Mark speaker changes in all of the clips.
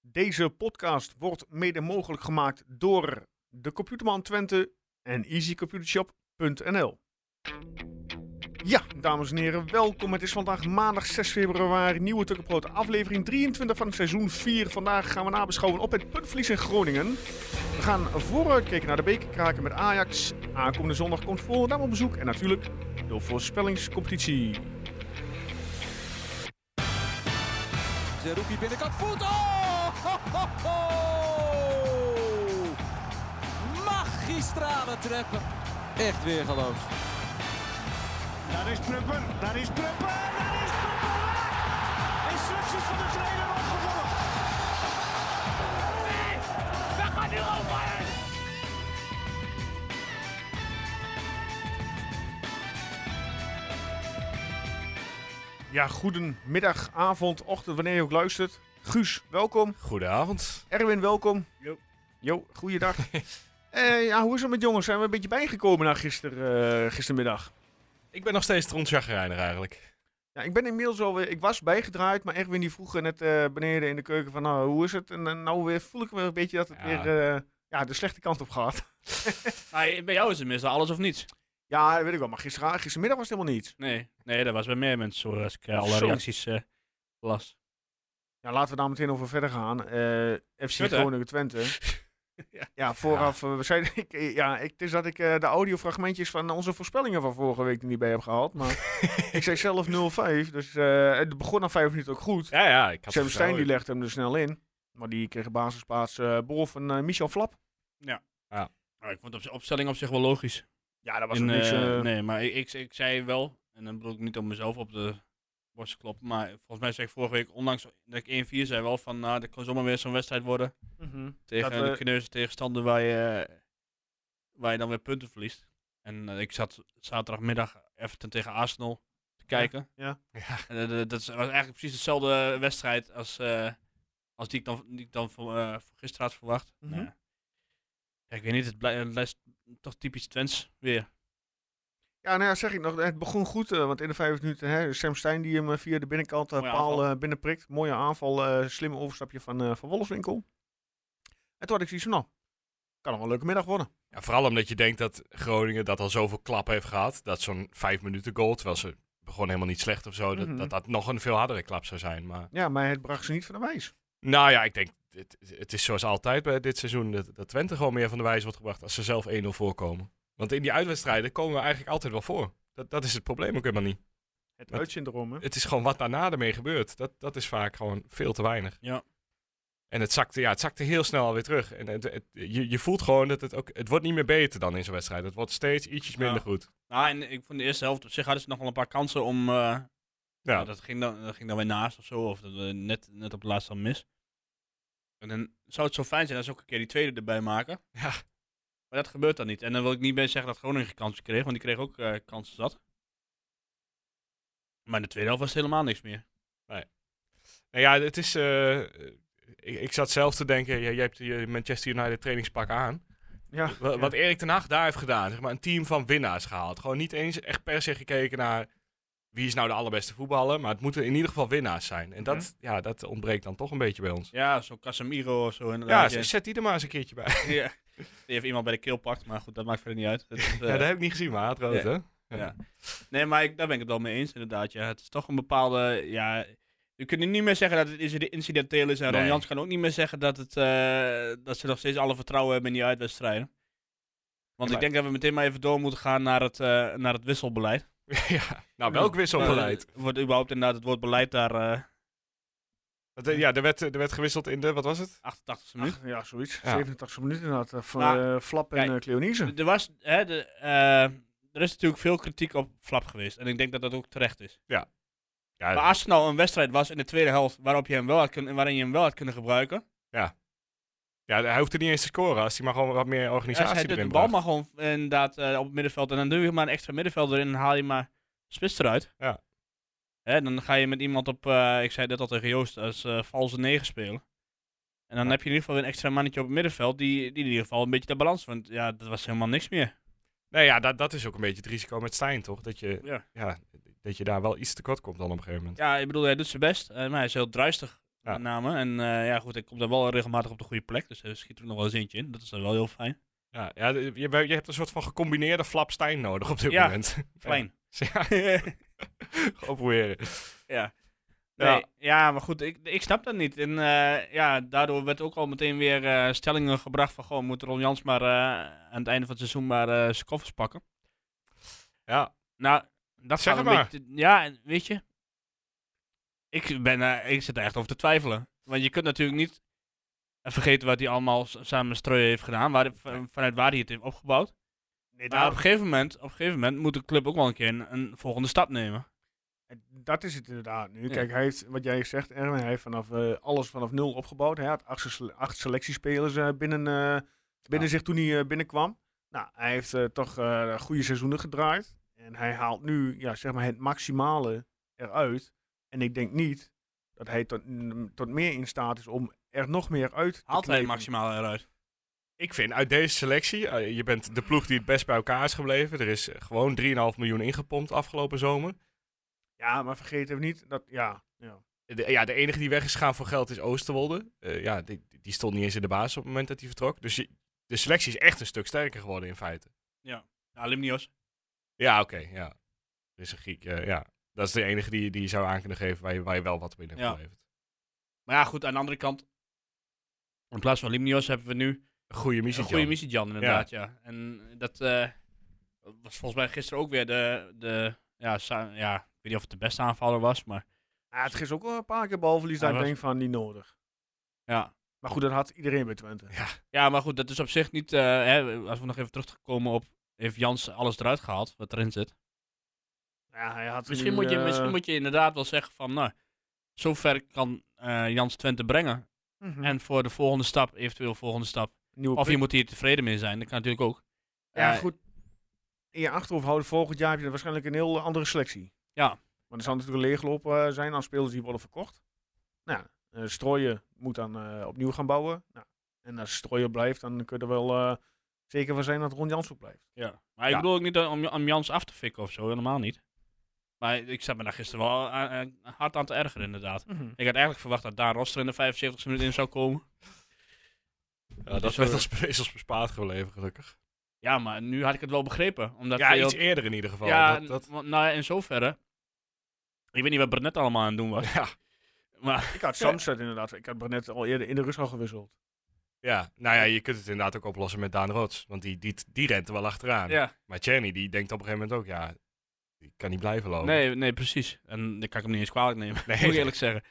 Speaker 1: Deze podcast wordt mede mogelijk gemaakt door de Computerman Twente en easycomputershop.nl. Ja, dames en heren, welkom. Het is vandaag maandag 6 februari, nieuwe Tukkenproot, aflevering 23 van seizoen 4. Vandaag gaan we nabeschouwen op het puntverlies in Groningen. We gaan vooruitkijken naar de bekerkraken met Ajax. Aankomende zondag komt Volendam op bezoek en natuurlijk de voorspellingscompetitie.
Speaker 2: Zerouki binnenkant voet. Oh! Ho, ho, ho! Magistrale treppen. Echt weer geloof.
Speaker 3: Daar is Prupper, daar is Prupper, daar is Prupper weg! Instructies van de trainer opgevolgd. We gaan nu over!
Speaker 1: Ja, goedemiddag, avond, ochtend, wanneer je ook luistert. Guus, welkom.
Speaker 4: Goedenavond.
Speaker 1: Erwin, welkom. Jo. Jo, goeiedag. Eh, ja, hoe is het met jongens? Zijn we een beetje bijgekomen na gister, eh, gistermiddag?
Speaker 4: Ik ben nog steeds trontjagrijner eigenlijk.
Speaker 1: Ja, ik ben inmiddels alweer... Ik was bijgedraaid, maar Erwin die vroeg net eh, beneden in de keuken van... Nou, hoe is het? En, eh, nou weer voel ik me een beetje dat het
Speaker 4: Ja.
Speaker 1: weer eh, ja, de slechte kant op gaat.
Speaker 5: Maar bij jou is het meestal alles of niets.
Speaker 1: Ja, dat weet ik wel. Maar gistera- gistermiddag was het helemaal niets.
Speaker 5: Nee, nee dat was bij meer mensen zo als ik eh, alle
Speaker 1: Zo.
Speaker 5: reacties eh, las.
Speaker 1: Ja, laten we daar meteen over verder gaan. Eh, FC
Speaker 5: Twente.
Speaker 1: Groningen Twente. ja.
Speaker 5: Ja.
Speaker 1: vooraf. eh, we zeiden, ik, eh, ja, ik, het is dat ik eh, de audiofragmentjes van onze voorspellingen van vorige week er niet bij heb gehaald. Maar ik zei zelf 0-5. Dus eh, het begon na vijf minuten ook goed.
Speaker 4: Ja, ja. Ik
Speaker 1: Sam
Speaker 4: had
Speaker 1: Stein die
Speaker 4: vertrouwen.
Speaker 1: legde hem er snel in. Maar die kreeg een basisplaats eh boven eh, Michel Flap.
Speaker 5: Maar ik vond de opstelling op zich wel logisch.
Speaker 1: Ja, dat was
Speaker 5: In,
Speaker 1: ook niks.
Speaker 5: eh,
Speaker 1: eh,
Speaker 5: nee, maar ik, ik, ik zei wel, en dan bedoel ik niet om mezelf op de borst te kloppen, maar volgens mij zei ik vorige week, ondanks dat ik 1-4 zei, wel van, nou, dat kan zomaar weer zo'n wedstrijd worden
Speaker 1: mhm.
Speaker 5: tegen
Speaker 1: Dat
Speaker 5: een
Speaker 1: we-
Speaker 5: kneuze tegenstander waar je, eh, waar je dan weer punten verliest. En eh, ik zat zaterdagmiddag Everton tegen Arsenal te kijken.
Speaker 1: ja.
Speaker 4: Ja.
Speaker 5: En, eh, dat- dat is- was eigenlijk precies dezelfde wedstrijd als, eh, als die ik dan, die ik dan voor, eh, voor gisteren had verwacht.
Speaker 1: Mhm.
Speaker 5: Nou ja. Ja, ik weet niet, het blij- het blijft toch typisch Twents weer.
Speaker 1: Ja, nou ja, zeg ik nog, het begon goed, eh, want in de vijf minuten, hè, Sam Stein die hem eh, via de binnenkant eh,
Speaker 5: Mooie
Speaker 1: paal
Speaker 5: aanval.
Speaker 1: eh, binnenprikt. Mooie aanval, eh slimme overstapje van, eh van Wolfswinkel. En toen had ik zoiets van, nou, kan nog wel een leuke middag worden.
Speaker 4: Ja, vooral omdat je denkt dat Groningen dat al zoveel klap heeft gehad. Dat zo'n vijf minuten goal, terwijl ze begon helemaal niet slecht of zo. Dat
Speaker 1: Mhm.
Speaker 4: dat, dat nog een veel hardere klap zou zijn. Maar
Speaker 1: Ja, maar het bracht ze niet van de wijs.
Speaker 4: nou ja, ik denk, het, het is zoals altijd bij dit seizoen. Dat, dat Twente gewoon meer van de wijze wordt gebracht als ze zelf 1-0 voorkomen. Want in die uitwedstrijden komen we eigenlijk altijd wel voor. Dat, dat is het probleem ook helemaal niet.
Speaker 1: Het
Speaker 4: Wat?
Speaker 1: uitsyndroom, hè.
Speaker 4: Het is gewoon wat daarna ermee gebeurt. Dat, dat is vaak gewoon veel te weinig.
Speaker 5: Ja.
Speaker 4: En het zakte, ja, het zakte heel snel alweer terug. En het, het- je, je voelt gewoon dat het ook... Het wordt niet meer beter dan in zo'n wedstrijd. Het wordt steeds ietsjes minder
Speaker 5: Ja.
Speaker 4: goed.
Speaker 5: Nou, en ik vond de eerste helft op zich hadden ze nog wel een paar kansen om... eh,
Speaker 4: Ja,
Speaker 5: nou, dat, ging dan, dat ging dan weer naast of zo, of dat, eh, net, net op het laatst dan mis. En dan zou het zo fijn zijn als ze ook een keer die tweede erbij maken.
Speaker 4: ja.
Speaker 5: Maar dat gebeurt dan niet. En dan wil ik niet bij zeggen dat Groningen geen kansen kreeg, want die kreeg ook eh, kansen zat. Maar in de tweede helft was het helemaal niks meer.
Speaker 4: Nou ja het is... eh, ik, ik zat zelf te denken, jij, jij hebt je Manchester United trainingspak aan.
Speaker 1: Ja,
Speaker 4: Wa-
Speaker 1: ja.
Speaker 4: Wat Erik ten Hag daar heeft gedaan. Zeg maar, een team van winnaars gehaald. Gewoon niet eens echt per se gekeken naar... Wie is nou de allerbeste voetballer? Maar het moeten in ieder geval winnaars zijn. En dat, ja, dat ontbreekt dan toch een beetje bij ons.
Speaker 5: Mhm. Ja, zo'n Casemiro of zo
Speaker 4: Ja,
Speaker 5: inderdaad.
Speaker 4: z- zet die er maar eens een keertje bij.
Speaker 5: Ja. Die heeft iemand bij de keel pakt, maar goed, dat maakt verder niet uit. Dat is, eh,
Speaker 4: Ja, dat heb ik niet gezien, maar het rood,
Speaker 5: Ja.
Speaker 4: hè?
Speaker 5: Nee, maar ik, daar ben ik het wel mee eens inderdaad. Ja. Het is toch een bepaalde... Ja, we kunnen niet meer zeggen dat het inci- incidenteel is. En Ron
Speaker 4: Nee.
Speaker 5: Jans kan ook niet meer zeggen dat, het, eh, dat ze nog steeds alle vertrouwen hebben in die uitwedstrijden. Want
Speaker 4: Ja,
Speaker 5: ik
Speaker 4: maar-
Speaker 5: denk dat we meteen maar even door moeten gaan naar het, eh, naar het wisselbeleid.
Speaker 4: ja, nou, welk wisselbeleid?
Speaker 5: Eh, wordt überhaupt inderdaad het woord beleid daar eh
Speaker 4: Want, eh, ja, er werd, eh, er werd gewisseld in de, wat was het?
Speaker 5: 88 e minuut.
Speaker 1: Ach, ja, zoiets.
Speaker 4: Ja.
Speaker 1: 87 minuten inderdaad, eh, van
Speaker 5: Maar,
Speaker 1: eh, Flap en
Speaker 5: kijk,
Speaker 1: eh Cleonise.
Speaker 5: D- Er, was, hè, de, eh, er is natuurlijk veel kritiek op Flap geweest. En ik denk dat dat ook terecht is.
Speaker 4: Ja,
Speaker 5: Maar als het nou een wedstrijd was in de tweede helft waarop je hem wel had kunnen, waarin je hem wel had kunnen gebruiken.
Speaker 4: ja, hij hoeft er niet eens te scoren als hij maar gewoon wat meer
Speaker 5: Ja,
Speaker 4: organisatie
Speaker 5: hij doet de
Speaker 4: erin
Speaker 5: bal
Speaker 4: bracht.
Speaker 5: maar gewoon inderdaad eh, op het middenveld. En dan doe je maar een extra middenvelder in en haal je maar spits eruit.
Speaker 4: Ja.
Speaker 5: Hè, dan ga je met iemand op, eh, ik zei dat al tegen Joost, als eh, valse 9 spelen. En dan
Speaker 4: Ja.
Speaker 5: heb je in ieder geval weer een extra mannetje op het middenveld die, die in ieder geval een beetje de balans. Want ja, dat was helemaal niks meer.
Speaker 4: Nee, ja, dat, dat is ook een beetje het risico met Stijn, toch? Dat je,
Speaker 5: Ja.
Speaker 4: ja, dat je daar wel iets tekort komt dan op een gegeven moment.
Speaker 5: Ja, ik bedoel, hij doet zijn best, eh, maar hij is heel druistig
Speaker 4: Ja.
Speaker 5: Met name. En eh, ja, goed, ik kom daar wel regelmatig op de goede plek. Dus hij schiet er nog wel eens eentje in. Dat is dan wel heel fijn.
Speaker 4: Ja, ja je, je hebt een soort van gecombineerde flapstein nodig op dit
Speaker 5: Ja,
Speaker 4: moment.
Speaker 5: Fijn.
Speaker 4: Ja. Gewoon proberen.
Speaker 5: Ja.
Speaker 4: Ja.
Speaker 5: Nee, ja, maar goed, ik, ik snap dat niet. En eh, ja, daardoor werd ook al meteen weer eh, stellingen gebracht van... ...gewoon moet Ron Jans maar eh, aan het einde van het seizoen maar eh, zijn koffers pakken.
Speaker 4: Ja,
Speaker 5: Nou, dat
Speaker 4: Zeg
Speaker 5: gaat een
Speaker 4: het maar.
Speaker 5: beetje... Ja, en weet je. Ik, ben, eh, ik zit er echt over te twijfelen. Want je kunt natuurlijk niet eh, vergeten wat hij allemaal s- samen met Streuer heeft gedaan. Waar, van- vanuit waar hij het heeft opgebouwd.
Speaker 1: Nee,
Speaker 4: Nou.
Speaker 5: Maar op een gegeven moment, op een gegeven moment moet de club ook wel een keer een, een volgende stap nemen.
Speaker 1: En Dat is het inderdaad nu. Kijk, hij heeft, wat jij zegt, Erwin, hij heeft vanaf, eh, alles vanaf nul opgebouwd. Hij had acht, sele- acht selectiespelers eh, binnen, eh, binnen zich toen hij eh, binnenkwam. Nou, hij heeft eh, toch eh, goede seizoenen gedraaid. En hij haalt nu ja, zeg maar het maximale eruit. En ik denk niet dat hij tot, mm, tot meer in staat is om er nog meer uit te
Speaker 5: Haalt hij het
Speaker 1: kneden.
Speaker 5: maximaal eruit?
Speaker 4: ik vind uit deze selectie, eh, je bent de ploeg die het best bij elkaar is gebleven. Er is eh, gewoon 3,5 miljoen ingepompt afgelopen zomer.
Speaker 1: Ja, maar vergeet even niet dat, ja. ja.
Speaker 4: De, ja, de enige die weg is gegaan voor geld is Oosterwolde. Eh, ja, die, die stond niet eens in de basis op het moment dat hij vertrok. Dus je- de selectie is echt een stuk sterker geworden in feite.
Speaker 5: Nou, Limnios.
Speaker 4: Ja, oké, ja. Er is een Griek, eh, ja. Dat is de enige die, die je zou aan kunnen geven waar je, waar je wel wat binnen hebt
Speaker 5: Ja.
Speaker 4: geleverd.
Speaker 5: Maar ja, goed, aan de andere kant. In plaats van Limnios hebben we nu
Speaker 4: Een goede missie,
Speaker 5: een goede
Speaker 4: Jan.
Speaker 5: missie, Jan, inderdaad, ja. En dat eh, was volgens mij gisteren ook weer de, de ja, sa- ja, ik weet niet of het de beste aanvaller was, maar
Speaker 1: Ah, het is ook wel een paar keer balverlies dat
Speaker 5: Hij
Speaker 1: ik
Speaker 5: was-
Speaker 1: denk van niet nodig.
Speaker 5: ja.
Speaker 1: Maar goed, dat had iedereen bij Twente.
Speaker 5: Ja, maar goed, dat is op zich niet, eh, hè, als we nog even terugkomen op, heeft Jans alles eruit gehaald, wat erin zit.
Speaker 1: Ja, hij had
Speaker 5: Misschien,
Speaker 1: nu,
Speaker 5: moet, je,
Speaker 1: eh,
Speaker 5: misschien moet je inderdaad wel zeggen van, nou, zover kan eh, Jans Twente brengen.
Speaker 1: mhm.
Speaker 5: En voor de volgende stap, eventueel volgende stap.
Speaker 1: Nieuwe
Speaker 5: Of je moet hier tevreden mee zijn, dat kan natuurlijk ook.
Speaker 1: Ja,
Speaker 5: Eh,
Speaker 1: goed. In je achterhoofd houden, volgend jaar heb je waarschijnlijk een heel eh, andere selectie.
Speaker 5: Ja.
Speaker 1: Want er zal natuurlijk een leegloop eh, zijn aan spelers die worden verkocht. Nou, ja, eh, strooien moet dan eh, opnieuw gaan bouwen. Nou, en als strooien blijft, dan kun je er wel eh, zeker van zijn dat Ron Jans ook blijft.
Speaker 5: Ja. Maar ik
Speaker 4: Ja.
Speaker 5: bedoel ook niet eh, om, om Jans af te fikken of zo, helemaal niet. Maar ik zat me daar gisteren wel eh, eh, hard aan te ergeren, inderdaad. Ik had eigenlijk verwacht dat Daan Roster in de 75 e minuut in zou komen.
Speaker 4: Ja, dat
Speaker 5: Dus,
Speaker 4: werd
Speaker 5: eh,
Speaker 4: als, is als bespaard gebleven, gelukkig.
Speaker 5: Ja, maar nu had ik het wel begrepen. Omdat
Speaker 4: Ja,
Speaker 5: hij
Speaker 4: iets
Speaker 5: ook-
Speaker 4: eerder in ieder geval.
Speaker 5: ja,
Speaker 4: dat, dat,
Speaker 5: want- nou ja, in zoverre. Ik weet niet wat Brenet allemaal aan het doen was.
Speaker 4: ja,
Speaker 5: Maar
Speaker 1: Ik had Samsted inderdaad. Ik had Barnett al eerder in de rust al gewisseld.
Speaker 4: ja, nou ja, je kunt het inderdaad ook oplossen met Daan Rots. Want die, die, die rent er wel achteraan.
Speaker 5: ja,
Speaker 4: Maar Tjerny, die denkt op een gegeven moment ook, ja, die kan niet blijven lopen.
Speaker 5: nee, nee, precies. En dat kan ik hem niet eens kwalijk nemen,
Speaker 4: Nee,
Speaker 5: moet ik
Speaker 4: nee.
Speaker 5: eerlijk zeggen.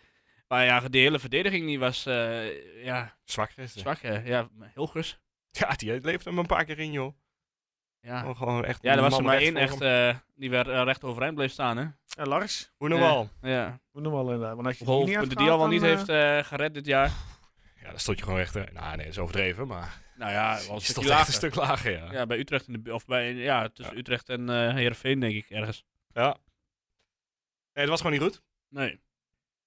Speaker 5: Maar ja, de hele verdediging die was eh, ja,
Speaker 4: Zwak gisteren.
Speaker 5: zwak. hè. Ja, Hilgers.
Speaker 4: Ja, die leeft hem een paar keer in, joh.
Speaker 5: Ja,
Speaker 4: Gewoon- Gewoon echt
Speaker 5: Ah. Ja, er
Speaker 4: een
Speaker 5: was er
Speaker 4: man
Speaker 5: maar
Speaker 4: recht
Speaker 5: één
Speaker 4: voor
Speaker 5: echt
Speaker 4: hem.
Speaker 5: eh, die weer eh, recht overeind bleef staan. Hè?
Speaker 1: En Lars,
Speaker 4: Hoe
Speaker 5: eh,
Speaker 4: nou al?
Speaker 5: Ja.
Speaker 1: hoe noemen we al inderdaad. Want als je die
Speaker 5: Rolf,
Speaker 1: niet had
Speaker 5: die al wel
Speaker 1: gehaald,
Speaker 5: niet
Speaker 1: dan, eh,
Speaker 5: heeft eh, gered dit jaar.
Speaker 4: Ja, daar stond je gewoon rechter. Nou, nee, dat is overdreven, maar
Speaker 5: Nou ja, wel
Speaker 4: je
Speaker 5: een
Speaker 4: stond
Speaker 5: stukje
Speaker 4: echt
Speaker 5: lager.
Speaker 4: een stuk lager, ja.
Speaker 5: Ja, bij Utrecht in de bu- of bij, ja, tussen Utrecht en eh Heerenveen denk ik ergens.
Speaker 4: Nee, dat was gewoon niet goed.
Speaker 5: Nee. eh.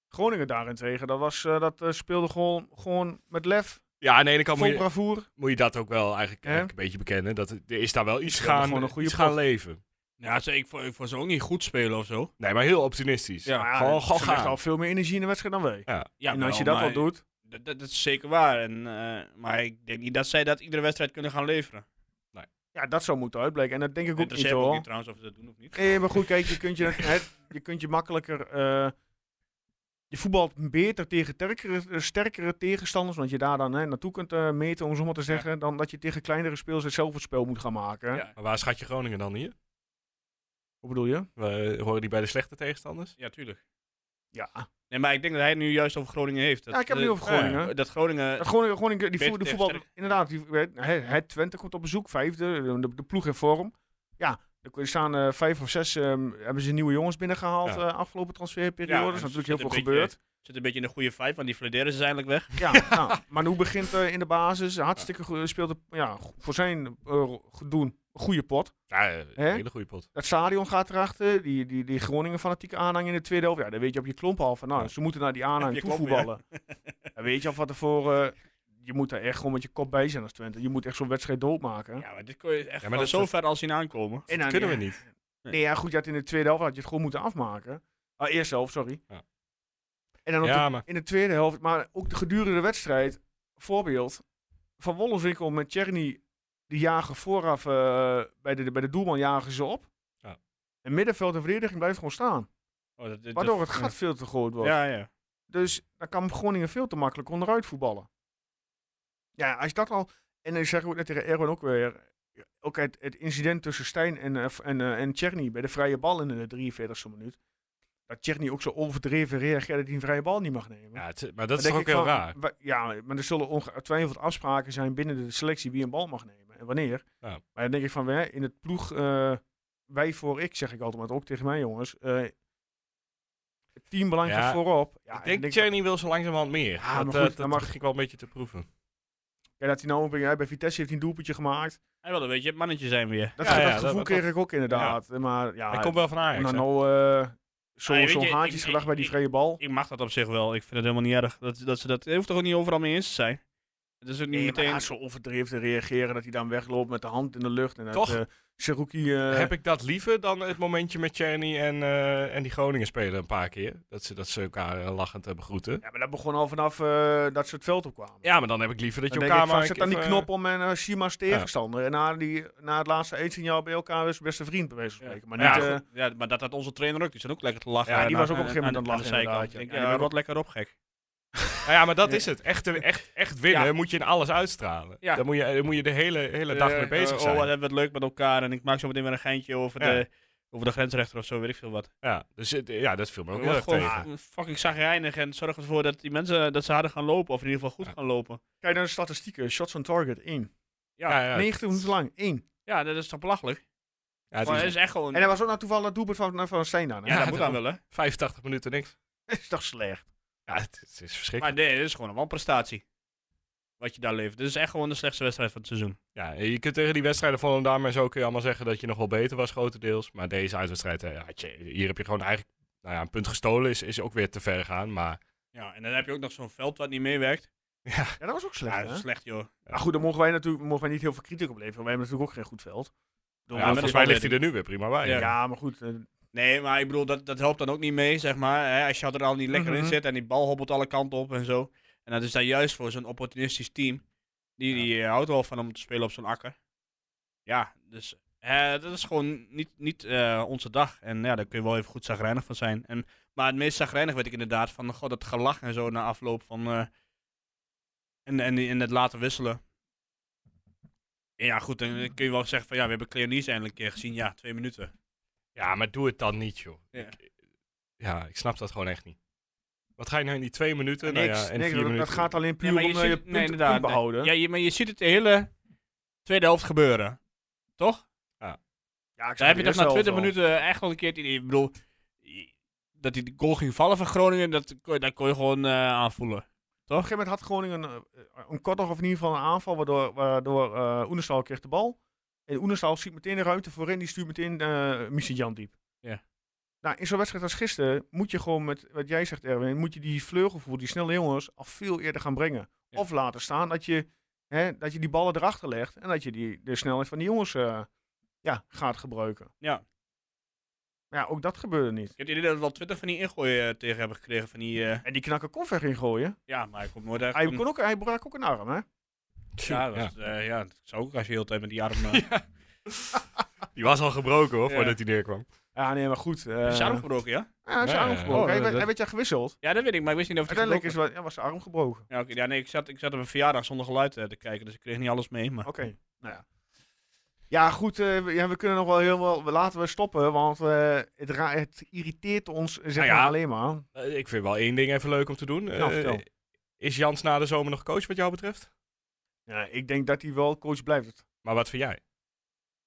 Speaker 1: Groningen daarentegen, dat, was, eh, dat eh, speelde gewoon, gewoon met lef,
Speaker 4: Ja, aan de ene kant moet
Speaker 1: vol
Speaker 4: je,
Speaker 1: bravoer.
Speaker 4: moet je dat ook wel eigenlijk,
Speaker 1: Hè?
Speaker 4: eigenlijk een beetje bekennen. Dat, er is daar wel iets
Speaker 1: hebben
Speaker 4: gaan,
Speaker 1: gewoon een goede
Speaker 4: iets gaan
Speaker 1: ploeg.
Speaker 4: leven.
Speaker 5: Ja, ze, ik, vond, ik vond ze ook niet goed spelen of zo.
Speaker 4: Nee, maar heel optimistisch.
Speaker 5: Ja,
Speaker 1: Maar
Speaker 4: gewoon, gewoon
Speaker 1: ze legden
Speaker 4: gaan.
Speaker 1: al veel meer energie in de wedstrijd dan wij.
Speaker 5: Ja,
Speaker 1: en als je
Speaker 5: wel,
Speaker 1: dat al
Speaker 5: maar
Speaker 1: doet,
Speaker 5: Dat, dat- dat is zeker waar. En, eh, maar ik denk niet dat zij dat iedere wedstrijd kunnen gaan leveren.
Speaker 1: Ja, dat zou moeten uitblijken. En dat denk ik ook niet
Speaker 5: Interesseert me
Speaker 1: hoor.
Speaker 5: ook niet trouwens of ze dat doen of niet.
Speaker 1: Nee, maar goed, kijk, je kunt je, het, je, kunt je makkelijker... eh, je voetbalt beter tegen terkere- sterkere tegenstanders, want je daar dan hè, naartoe kunt eh, meten, om zo maar te zeggen, dan dat je tegen kleinere spelers zelf het spel moet gaan maken.
Speaker 5: Ja.
Speaker 4: Maar waar schat je Groningen dan hier?
Speaker 1: Wat bedoel je?
Speaker 4: We, horen die bij de slechte tegenstanders?
Speaker 5: Ja, tuurlijk.
Speaker 1: Ja.
Speaker 5: Nee, maar ik denk dat hij het nu juist over Groningen heeft. Dat,
Speaker 1: Ja, ik heb het
Speaker 5: eh,
Speaker 1: nu over Groningen.
Speaker 5: Dat Groningen...
Speaker 1: Dat Groningen, Groningen die
Speaker 5: Beter
Speaker 1: voer- de
Speaker 5: tegen
Speaker 1: voetbal,
Speaker 5: sterk.
Speaker 1: inderdaad, die, het, het Twente komt op bezoek, vijfde, eh, de, de ploeg in vorm. Ja, er staan eh, vijf of zes, ehm, hebben ze nieuwe jongens binnengehaald
Speaker 4: Ja.
Speaker 1: eh, afgelopen transferperiode.
Speaker 5: Ja,
Speaker 1: er is
Speaker 5: en ze
Speaker 1: natuurlijk heel veel
Speaker 5: zitten een
Speaker 1: gebeurd.
Speaker 5: Zit een beetje in de goede vijf, want die fladeren ze eindelijk weg.
Speaker 1: Ja, nou, maar nu begint eh, in de basis. Hartstikke goed, speelt het, ja, go- voor zijn eh, gedoen goede pot.
Speaker 4: Ja, eh, een
Speaker 1: Hè?
Speaker 4: hele goede pot.
Speaker 1: Dat stadion gaat erachter. Die, die, die Groningen fanatieke aanhang in de tweede helft. Ja, dan weet je op je klomp al van, nou,
Speaker 4: Ja.
Speaker 1: ze moeten naar die aanhang
Speaker 5: je
Speaker 1: toe
Speaker 5: klomp, ja.
Speaker 1: voetballen. Dan weet je al van tevoren, eh, je moet daar echt gewoon met je kop bij zijn als Twente. Je moet echt zo'n wedstrijd doodmaken.
Speaker 5: Ja, maar dit kon je echt
Speaker 4: Ja, maar
Speaker 5: van
Speaker 4: dat-
Speaker 5: zo ver al zien aankomen.
Speaker 1: En
Speaker 4: Dat
Speaker 1: dan-
Speaker 4: kunnen we
Speaker 1: ja,
Speaker 4: niet.
Speaker 1: Nee, ja, goed, je had in de tweede helft had je het gewoon moeten afmaken. Ah, eerste helft, sorry.
Speaker 4: Ja.
Speaker 1: En dan op de
Speaker 4: Ja, maar
Speaker 1: in de tweede helft, maar ook de gedurende wedstrijd. Voorbeeld, Van Wollenswinkel met Tjerni, die jagen vooraf eh, bij, de, bij de doelman jagen ze op.
Speaker 4: Ja.
Speaker 1: En middenveld en verdediging blijft gewoon staan.
Speaker 5: Oh, dat- dat-
Speaker 1: Waardoor het
Speaker 5: dat-
Speaker 1: gat veel te groot wordt.
Speaker 5: Ja, ja.
Speaker 1: Dus daar kan Groningen veel te makkelijk onderuit voetballen. Ja, als je dat al... En ik zeg ook net tegen Erwin ook weer... Ook het, het incident tussen Stijn en, eh, en, eh, en Tjerni bij de vrije bal in de 43e minuut. Dat Tjerni ook zo overdreven reageerde dat hij een vrije bal niet mag nemen.
Speaker 4: ja, het- maar dat is
Speaker 1: Dan
Speaker 4: toch ook
Speaker 1: denk
Speaker 4: heel
Speaker 1: ik
Speaker 4: raar.
Speaker 1: van, wa- Ja, maar er zullen ongetwijfeld afspraken zijn binnen de selectie wie een bal mag nemen en wanneer.
Speaker 4: Ja.
Speaker 1: Maar dan denk ik van, wij in het ploeg, eh, wij voor ik, zeg ik altijd, maar ook tegen mij jongens. eh, het teambelang
Speaker 4: Ja,
Speaker 1: gaat voorop. Ja, en
Speaker 4: ik
Speaker 1: dan
Speaker 4: denk dat
Speaker 1: ik van,
Speaker 4: Tjerni wil zo langzamerhand meer.
Speaker 1: Ja, maar
Speaker 4: dat
Speaker 1: goed,
Speaker 4: eh,
Speaker 1: dan
Speaker 4: dat
Speaker 1: mag-
Speaker 4: mag... ging ik wel een beetje te proeven.
Speaker 1: ja, dat hij nou bij, bij Vitesse heeft hij een doelpuntje gemaakt.
Speaker 5: Hij wil een beetje het mannetje zijn weer.
Speaker 1: Dat,
Speaker 4: Ja,
Speaker 1: dat
Speaker 4: ja,
Speaker 1: gevoel
Speaker 4: dat- dat-
Speaker 1: kreeg ik ook inderdaad. Maar ja,
Speaker 4: Hij komt wel van Ajax.
Speaker 1: nou,
Speaker 4: hè?
Speaker 1: nou eh, zo-
Speaker 5: Ah,
Speaker 1: zo'n
Speaker 5: weet je, ik-
Speaker 1: haantjesgedrag bij die
Speaker 5: ik-
Speaker 1: vrije bal.
Speaker 5: Ik mag dat op zich wel. Ik vind het helemaal niet erg. Dat, dat ze dat het hoeft toch ook niet overal mee eens te zijn. Het is ook niet
Speaker 1: Nee, maar
Speaker 5: meteen.
Speaker 1: ja, zo overdreven te reageren dat hij dan wegloopt met de hand in de lucht. En dat
Speaker 4: Toch?
Speaker 1: eh Saruki, eh,
Speaker 4: Heb ik dat liever dan het momentje met Tjerni en, eh, en die Groningen spelen een paar keer? Dat ze, dat ze elkaar eh, lachend eh, begroeten.
Speaker 1: Ja, maar dat begon al vanaf eh, dat ze het veld opkwamen.
Speaker 4: Ja, maar dan heb ik liever dat je
Speaker 1: Dan denk
Speaker 4: elkaar
Speaker 1: ik van,
Speaker 4: maar...
Speaker 1: zet aan die
Speaker 4: even-
Speaker 1: knop om en eh, Shima's tegenstander. En na, die, na het laatste eetsignaal bij elkaar is beste vriend, bij wijze van spreken. Maar
Speaker 4: Ja,
Speaker 1: niet,
Speaker 4: goed.
Speaker 1: eh,
Speaker 5: ja, maar dat had onze trainer ook. Die zat ook lekker te lachen.
Speaker 4: Ja, die
Speaker 5: aan-
Speaker 1: was ook op een gegeven moment aan het
Speaker 5: de
Speaker 1: lachen,
Speaker 5: zijkant.
Speaker 1: inderdaad,
Speaker 5: Ik
Speaker 1: ja.
Speaker 5: denk,
Speaker 1: Ja,
Speaker 5: ja,
Speaker 1: die was-
Speaker 5: rot lekker op, gek.
Speaker 4: Nou ja, maar dat is het. Echt, eh, echt, echt winnen
Speaker 5: Ja.
Speaker 4: moet je in alles uitstralen.
Speaker 5: Ja.
Speaker 4: Dan, moet je, dan moet je de hele, hele dag mee
Speaker 5: Eh,
Speaker 4: bezig
Speaker 5: eh,
Speaker 4: zijn.
Speaker 5: Oh, wat hebben we het leuk met elkaar. En ik maak zo meteen weer een geintje over,
Speaker 4: Ja.
Speaker 5: de, over de grensrechter of zo, weet ik veel wat.
Speaker 4: ja, dus het- ja, dat viel me ook
Speaker 5: Word
Speaker 4: heel erg
Speaker 5: gewoon
Speaker 4: tegen.
Speaker 5: f- fucking zagrijnig en zorg ervoor dat die mensen dat ze harder gaan lopen. Of in ieder geval goed
Speaker 4: Ja.
Speaker 5: gaan lopen.
Speaker 1: kijk naar de statistieken. Shots on target, 1.
Speaker 4: Ja, ja,
Speaker 1: 90 minuten lang, 1.
Speaker 5: Ja, dat is toch belachelijk?
Speaker 4: ja, het
Speaker 5: Maar
Speaker 4: is
Speaker 5: dat is echt gewoon...
Speaker 1: En er was ook nou toevallig dat doelpunt van, van Stijn dan. hè?
Speaker 5: ja,
Speaker 4: Ja,
Speaker 5: dat moet
Speaker 4: dat-
Speaker 5: dan wel, hè?
Speaker 4: 85 minuten niks.
Speaker 1: Dat is toch slecht.
Speaker 4: Ja, het, het is verschrikkelijk.
Speaker 5: Maar nee, dit is gewoon een wanprestatie. Wat je daar levert. Dit is echt gewoon de slechtste wedstrijd van het seizoen.
Speaker 4: Ja, je kunt tegen die wedstrijden van Volendam en zo kun je allemaal zeggen dat je nog wel beter was grotendeels. Maar deze uitwedstrijd, eh, had je, hier heb je gewoon eigenlijk nou ja, een punt gestolen. Is, is ook weer te ver gaan, maar...
Speaker 5: Ja, en dan heb je ook nog zo'n veld wat niet meewerkt.
Speaker 4: Ja,
Speaker 1: Ja, dat was ook slecht,
Speaker 5: Ja,
Speaker 1: hè?
Speaker 5: dat is slecht, joh.
Speaker 1: Maar goed, daar mogen wij natuurlijk mogen wij niet heel veel kritiek op leveren. Wij hebben natuurlijk ook geen goed veld. Door-
Speaker 4: ja, volgens mij
Speaker 5: wel
Speaker 4: ligt hij er nu weer prima bij.
Speaker 5: Ja.
Speaker 1: ja, maar goed. eh,
Speaker 5: Nee, maar ik bedoel, dat, dat helpt dan ook niet mee, zeg maar. Hè? Als je er al niet lekker
Speaker 1: Mhm.
Speaker 5: in zit en die bal hobbelt alle kanten op en zo. En dat is daar juist voor zo'n opportunistisch team. Die, die eh, houdt wel van om te spelen op zo'n akker. Ja, dus eh, dat is gewoon niet, niet eh, onze dag. En ja, daar kun je wel even goed zagrijnig van zijn. En, maar het meest zagrijnig werd ik inderdaad van god, dat gelach en zo na afloop van... eh, en, en, en het laten wisselen. En ja, goed, dan kun je wel zeggen van ja, we hebben Cleonice eindelijk een keer gezien. Ja, twee minuten.
Speaker 4: Ja, maar doe het dan niet, joh.
Speaker 5: Ja.
Speaker 4: Ik, ja, ik snap dat gewoon echt niet. Wat ga je nou in die twee minuten?
Speaker 5: Niks,
Speaker 4: nou ja, en
Speaker 1: nee,
Speaker 4: vier
Speaker 1: dat, dat
Speaker 4: minuten.
Speaker 1: gaat alleen puur
Speaker 5: maar
Speaker 1: om eh, je
Speaker 5: ziet-
Speaker 1: punt, punt behouden.
Speaker 5: nee. Ja, je- maar je ziet het de hele tweede helft gebeuren. Toch?
Speaker 1: Ja, ik
Speaker 5: Daar heb je toch na
Speaker 1: dat
Speaker 5: 20 minuten echt wel een keer het idee. Ik bedoel, i- dat die goal ging vallen van Groningen, dat kon, je- dat kon je gewoon eh, aanvoelen.
Speaker 1: Op een gegeven moment had Groningen een, eh, een korter of in ieder geval een aanval, waardoor, waardoor eh Oenestal kreeg de bal. En Oenestal ziet meteen de ruimte voorin, die stuurt meteen eh Missie Jan diep.
Speaker 5: Ja.
Speaker 1: Nou, in zo'n wedstrijd als gisteren moet je gewoon met, wat jij zegt Erwin, moet je die vleugelvoer, die snelle jongens, al veel eerder gaan brengen.
Speaker 5: Ja.
Speaker 1: Of laten staan dat je, hè, dat je die ballen erachter legt en dat je die, de snelheid van die jongens eh, ja, gaat gebruiken.
Speaker 5: Ja.
Speaker 1: Maar ja, ook dat gebeurde niet.
Speaker 5: Ik heb het idee dat we wel 20 van die ingooien eh, tegen hebben gekregen. Van die, eh,
Speaker 1: En die knakker kon ver ingooien.
Speaker 5: ja, maar ik kom nooit echt.
Speaker 1: Hij,
Speaker 5: om-
Speaker 1: kon ook, hij brak ook een arm, hè?
Speaker 5: ja, dat was, eh, ja, dat zou ook als je heel de tijd met die arm. eh,
Speaker 4: Die was al gebroken, hoor,
Speaker 5: Ja.
Speaker 4: voordat hij neerkwam.
Speaker 1: Ja, nee, maar goed. eh,
Speaker 5: Is je arm gebroken, ja?
Speaker 1: Ja, hij is
Speaker 4: Ja,
Speaker 1: arm
Speaker 4: ja.
Speaker 1: gebroken.
Speaker 5: Oh,
Speaker 1: hij,
Speaker 5: dat-
Speaker 1: werd, hij
Speaker 5: dat-
Speaker 1: werd ja gewisseld.
Speaker 5: Ja, dat weet ik, maar ik wist niet of het
Speaker 1: Uiteindelijk
Speaker 5: gebroken
Speaker 1: is wel, ja, was zijn arm gebroken.
Speaker 5: was. Ja, oké, ja, nee, ik zat, ik zat op een verjaardag zonder geluid eh, te kijken, dus ik kreeg niet alles mee. Maar...
Speaker 1: Oké, nou ja. Ja, goed. eh, we, ja, we kunnen nog wel heel wel... Laten we stoppen, want eh, het, ra- het irriteert ons zeg
Speaker 4: Nou ja.
Speaker 1: maar alleen maar.
Speaker 4: Eh, Ik vind wel één ding even leuk om te doen.
Speaker 1: Nou,
Speaker 4: Eh,
Speaker 1: vertel.
Speaker 4: is Jans na de zomer nog coach wat jou betreft?
Speaker 1: Ja, ik denk dat hij wel coach blijft.
Speaker 4: Maar wat vind jij?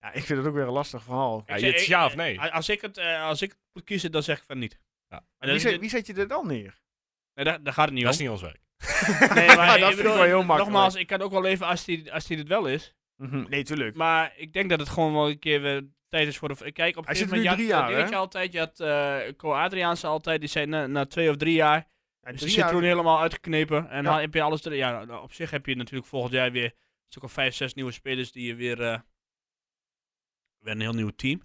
Speaker 1: Ja, ik vind het ook weer een lastig verhaal.
Speaker 4: Ja,
Speaker 5: Ik
Speaker 4: je-
Speaker 5: zeg-
Speaker 4: het is
Speaker 5: ik-
Speaker 4: ja of nee?
Speaker 5: a- Als ik het, eh, als ik het moet kiezen, dan zeg ik van niet.
Speaker 4: Ja.
Speaker 5: En dat
Speaker 1: Wie,
Speaker 5: is
Speaker 1: zet,
Speaker 5: niet-
Speaker 1: wie zet je er dan neer?
Speaker 5: Nee, daar, daar gaat het niet
Speaker 4: Dat
Speaker 5: om.
Speaker 1: Oh.
Speaker 4: is niet ons werk.
Speaker 5: Nee,
Speaker 1: dat
Speaker 5: ik
Speaker 1: vind ik
Speaker 5: bedoel,
Speaker 1: wel heel makkelijk.
Speaker 5: Nogmaals, ik kan ook wel even als die, als die het wel is.
Speaker 1: Mhm, Nee, tuurlijk.
Speaker 5: Maar ik denk dat het gewoon wel een keer weer tijd is voor de... Kijk, op een
Speaker 1: Hij
Speaker 5: gegeven
Speaker 1: zit nu
Speaker 5: moment...
Speaker 1: drie
Speaker 5: je had,
Speaker 1: jaar,
Speaker 5: weet je altijd, je had eh Co Adriaanse altijd, die zei na, na twee of drie jaar...
Speaker 1: Ja,
Speaker 5: Is
Speaker 1: drie
Speaker 5: je
Speaker 1: jaar-
Speaker 5: Dus toen helemaal uitgeknepen. En
Speaker 1: Ja.
Speaker 5: dan heb je alles... er- Ja, nou, op zich heb je natuurlijk volgend jaar weer een stuk of vijf, zes nieuwe spelers die je weer... eh, weer een heel nieuw team.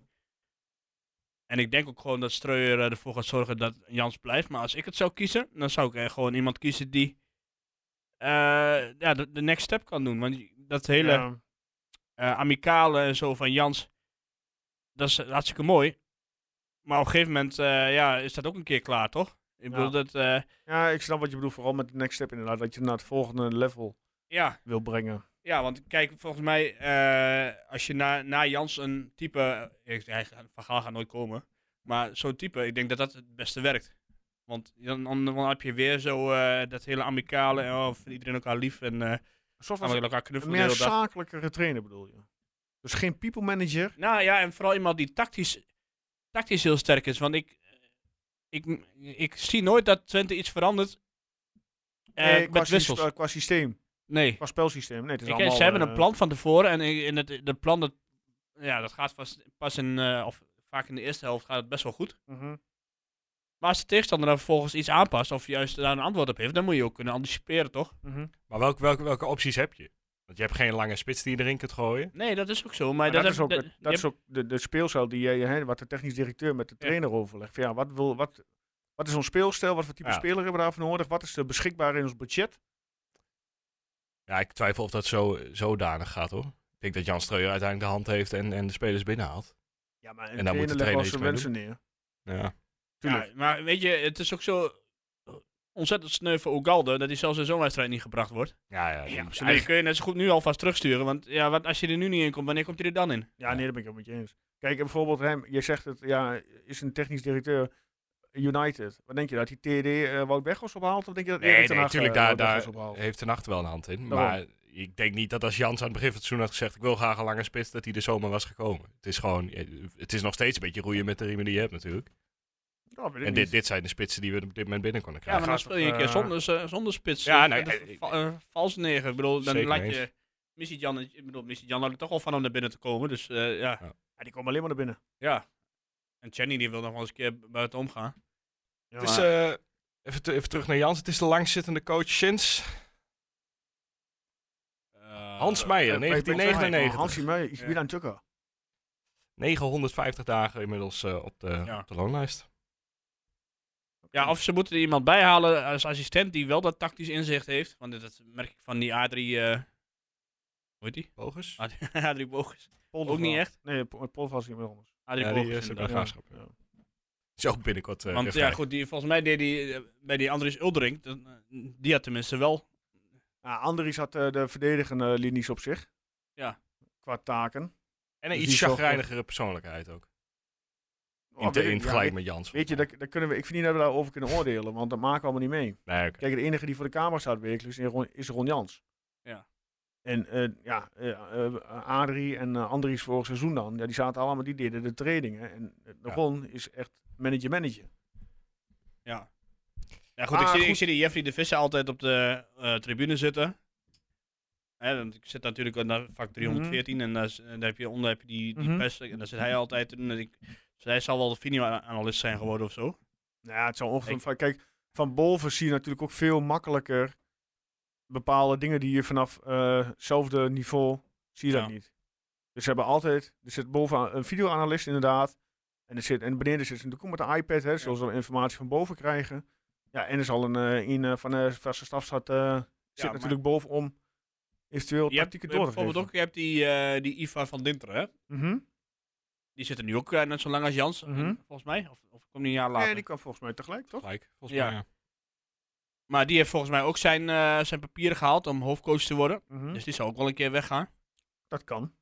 Speaker 5: En ik denk ook gewoon dat Streuer eh, ervoor gaat zorgen dat Jans blijft. Maar als ik het zou kiezen, dan zou ik eh, gewoon iemand kiezen die eh, ja, de, de next step kan doen. Want dat hele
Speaker 1: Ja.
Speaker 5: eh, amicale en zo van Jans, dat is hartstikke mooi. Maar op een gegeven moment eh, ja, is dat ook een keer klaar, toch? Ik bedoel,
Speaker 1: Ja.
Speaker 5: dat, eh,
Speaker 1: ja, ik snap wat je bedoelt. Vooral met de next step inderdaad. Dat je naar het volgende level
Speaker 5: ja,
Speaker 1: wil brengen.
Speaker 5: Ja, want kijk, volgens mij, eh, als je na, na Jans een type. eh, ik- Hij gaat- van Gaal gaat nooit komen. Maar zo'n type, ik denk dat dat het beste werkt. Want dan, dan, dan heb je weer zo eh, dat hele amicale. En, oh, vindt iedereen elkaar lief en eh
Speaker 1: Een soort
Speaker 5: gaan
Speaker 1: van
Speaker 5: we elkaar
Speaker 1: een
Speaker 5: knuffelen de
Speaker 1: meer
Speaker 5: hele dag.
Speaker 1: zakelijkere trainer bedoel je. Dus geen people manager.
Speaker 5: Nou ja, en vooral iemand die tactisch, tactisch heel sterk is. Want ik, ik, ik zie nooit dat Twente iets verandert eh,
Speaker 1: Nee, qua,
Speaker 5: met
Speaker 1: systeem-
Speaker 5: wissels.
Speaker 1: eh, qua systeem.
Speaker 5: Nee.
Speaker 1: Qua spelsysteem. Nee, het is
Speaker 5: Ik,
Speaker 1: allemaal,
Speaker 5: ze hebben
Speaker 1: eh,
Speaker 5: een plan van tevoren en in in het de plan dat, ja, dat gaat pas, pas in, eh, of vaak in de eerste helft gaat het best wel goed.
Speaker 1: mhm.
Speaker 5: Maar als de tegenstander dan vervolgens iets aanpast of juist daar een antwoord op heeft, dan moet je ook kunnen anticiperen, toch?
Speaker 1: Mhm.
Speaker 4: Maar welke, welke, welke opties heb je? Want je hebt geen lange spits die je erin kunt gooien.
Speaker 5: Nee, dat is ook zo. Maar,
Speaker 1: Maar
Speaker 5: dat,
Speaker 1: dat, is ook,
Speaker 5: heb-
Speaker 1: het-
Speaker 5: dat-
Speaker 1: dat
Speaker 5: je
Speaker 1: is ook de, de speelstijl die jij, hè, wat de technisch directeur met de
Speaker 5: Ja.
Speaker 1: trainer overlegt. Van Ja, wat, wil, wat, wat is ons speelstijl? Wat voor type
Speaker 4: Ja.
Speaker 1: speler hebben we daarvoor nodig? Wat is er beschikbaar in ons budget?
Speaker 4: Ja, ik twijfel of dat zo, zodanig gaat hoor. Ik denk dat Jan Streuer uiteindelijk de hand heeft en, en de spelers binnenhaalt.
Speaker 1: Ja, maar
Speaker 4: En daar moet de
Speaker 1: legt wel
Speaker 4: trainer
Speaker 1: zijn
Speaker 4: iets
Speaker 1: wensen neer.
Speaker 4: Ja.
Speaker 5: hebt-
Speaker 1: Tuurlijk.
Speaker 5: ja, maar weet je, het is ook zo ontzettend sneu voor Ogalde dat hij zelfs in zo'n wedstrijd niet gebracht wordt.
Speaker 4: Ja, ja, die-
Speaker 5: Ja,
Speaker 4: eigenlijk-
Speaker 5: kun je net zo goed nu alvast terugsturen, want ja, wat, als je er nu niet in komt, wanneer komt hij er dan in?
Speaker 1: Ja, nee, daar ben ik het met je eens. Kijk, en bijvoorbeeld hem, je zegt het, ja, is een technisch directeur United. Wat denk je, dat hij TD eh Wout Weghorst ophaalt? Of denk je dat
Speaker 4: Nee,
Speaker 1: Erik ten
Speaker 4: nee,
Speaker 1: Hag, eh,
Speaker 4: natuurlijk, daar,
Speaker 1: Wout
Speaker 4: daar
Speaker 1: Weghorst ophaalt?
Speaker 4: heeft de nacht wel een hand in.
Speaker 1: Daarom.
Speaker 4: Maar ik denk niet dat als Jans aan het begin van het seizoen had gezegd... ik wil graag een lange spits, dat hij de zomer was gekomen. Het is gewoon, eh, het is nog steeds een beetje roeien met de riemen die je hebt natuurlijk.
Speaker 1: Ja, weet ik
Speaker 4: En
Speaker 1: niet.
Speaker 4: dit, dit zijn de spitsen die we op dit moment binnen konden
Speaker 5: Ja, maar
Speaker 4: krijgen.
Speaker 5: dan
Speaker 1: gaat
Speaker 5: speel je een
Speaker 1: toch,
Speaker 5: keer
Speaker 1: eh,
Speaker 5: zonder, z- zonder spits.
Speaker 4: Ja,
Speaker 5: eh,
Speaker 4: nou,
Speaker 5: dat
Speaker 4: ja,
Speaker 5: is va- eh, vals negen. Ik bedoel, dan
Speaker 4: Zeker
Speaker 5: laat
Speaker 4: mee eens.
Speaker 5: je Missy Jan, ik bedoel, Missy Jan houdt er toch al van om naar binnen te komen. Dus eh, ja,
Speaker 1: Ja, die komen alleen maar naar binnen.
Speaker 5: ja. En Chenny die wil nog wel eens een keer bu- buiten omgaan.
Speaker 1: Ja,
Speaker 4: het is,
Speaker 1: maar-
Speaker 4: eh, even, te- even terug naar Jans. Het is de langzittende coach sinds Hans Meijer,
Speaker 1: eh, bij- bij- bij
Speaker 4: 1999.
Speaker 1: Hansi Meijer, ik
Speaker 5: Ja.
Speaker 1: ben aan Tucker.
Speaker 4: 950 dagen inmiddels eh, op, de,
Speaker 5: Ja.
Speaker 4: op de loonlijst.
Speaker 5: Ja, of ze moeten er iemand bij halen als assistent die wel dat tactisch inzicht heeft. Want dat merk ik van die A3, eh, hoe heet die?
Speaker 4: Bogus?
Speaker 1: Ah,
Speaker 5: A3 Bogus.
Speaker 1: Polder
Speaker 5: Ook niet
Speaker 1: vooral.
Speaker 5: echt.
Speaker 1: Nee, Po- Polder was iemand anders.
Speaker 5: A3
Speaker 4: Ja, die
Speaker 5: Bogus.
Speaker 4: eh, zit bij
Speaker 5: inderdaad.
Speaker 1: ja.
Speaker 4: Graafschap.
Speaker 1: Ja.
Speaker 4: Is ook binnenkort eh, weer
Speaker 5: Want ja,
Speaker 4: vrij.
Speaker 5: goed, die, volgens mij deed die, eh, bij die Andries Uldering, dat- die had tenminste wel
Speaker 1: Ja, Andries had eh, de verdedigende linies op zich.
Speaker 5: Ja.
Speaker 1: Qua taken.
Speaker 4: En een
Speaker 1: Dus
Speaker 4: iets
Speaker 1: die is wel
Speaker 4: chagrijnigere persoonlijkheid ook.
Speaker 1: Oh,
Speaker 4: In, te-
Speaker 1: weet
Speaker 4: in
Speaker 1: ik- ja,
Speaker 4: vergelijking
Speaker 1: weet-
Speaker 4: met Jans.
Speaker 1: Weet je, daar, daar kunnen we, ik vind niet dat we daarover kunnen oordelen, want dat maken we allemaal niet mee.
Speaker 4: Nee, oké.
Speaker 1: Kijk, de enige die voor de camera staat wekelijks is Ron, is Ron Jans.
Speaker 5: Ja.
Speaker 1: En eh, ja, eh eh, Adrie en eh, Andries vorig seizoen dan, ja, die zaten allemaal, die deden de trainingen. En eh,
Speaker 4: Ja.
Speaker 1: Ron is echt manager-manager.
Speaker 5: Ja. Ja, goed, ik,
Speaker 1: Maar
Speaker 5: zie, ik
Speaker 1: Ah, goed.
Speaker 5: zie die Jeffrey de Visser altijd op de eh, tribune zitten. Hè, want ik zit natuurlijk naar vak 314 en daar, is- en daar heb je onder heb je die, die
Speaker 1: Mhm.
Speaker 5: pers. En daar zit hij altijd in. En ik, dus hij zal wel de video-analyst zijn geworden of zo.
Speaker 1: Nou ja, het zou ongeveer.
Speaker 5: Ik-
Speaker 1: van- Kijk, van boven zie je natuurlijk ook veel makkelijker bepaalde dingen die je vanaf eh, hetzelfde niveau zie je dat
Speaker 5: Ja.
Speaker 1: niet. Dus ze hebben altijd, er zit bovenaan een videoanalist inderdaad. En, er zit, en beneden zit ze natuurlijk ook met de iPad, hè, zoals we informatie van boven krijgen. Ja, en er zal een, eh, een eh, van de vaste staf zat, eh, zit
Speaker 5: maar-
Speaker 1: natuurlijk bovenom eventueel
Speaker 5: Je hebt
Speaker 1: tactieken
Speaker 5: eh,
Speaker 1: door te
Speaker 5: bijvoorbeeld
Speaker 1: geven.
Speaker 5: ook je hebt die, eh, die Iva van Dinter, hè?
Speaker 1: Mhm.
Speaker 5: Die zit er nu ook eh, net zo lang als Jans,
Speaker 1: Mhm.
Speaker 5: eh, volgens mij. Of, of komt die een jaar later.
Speaker 1: Nee, die kwam volgens mij tegelijk, toch?
Speaker 4: Gelijk, volgens
Speaker 5: Ja.
Speaker 4: mij. Ja.
Speaker 5: Maar die heeft volgens mij ook zijn, eh, zijn papieren gehaald om hoofdcoach te worden.
Speaker 1: Mhm.
Speaker 5: Dus die zal ook wel een keer weggaan.
Speaker 1: Dat kan.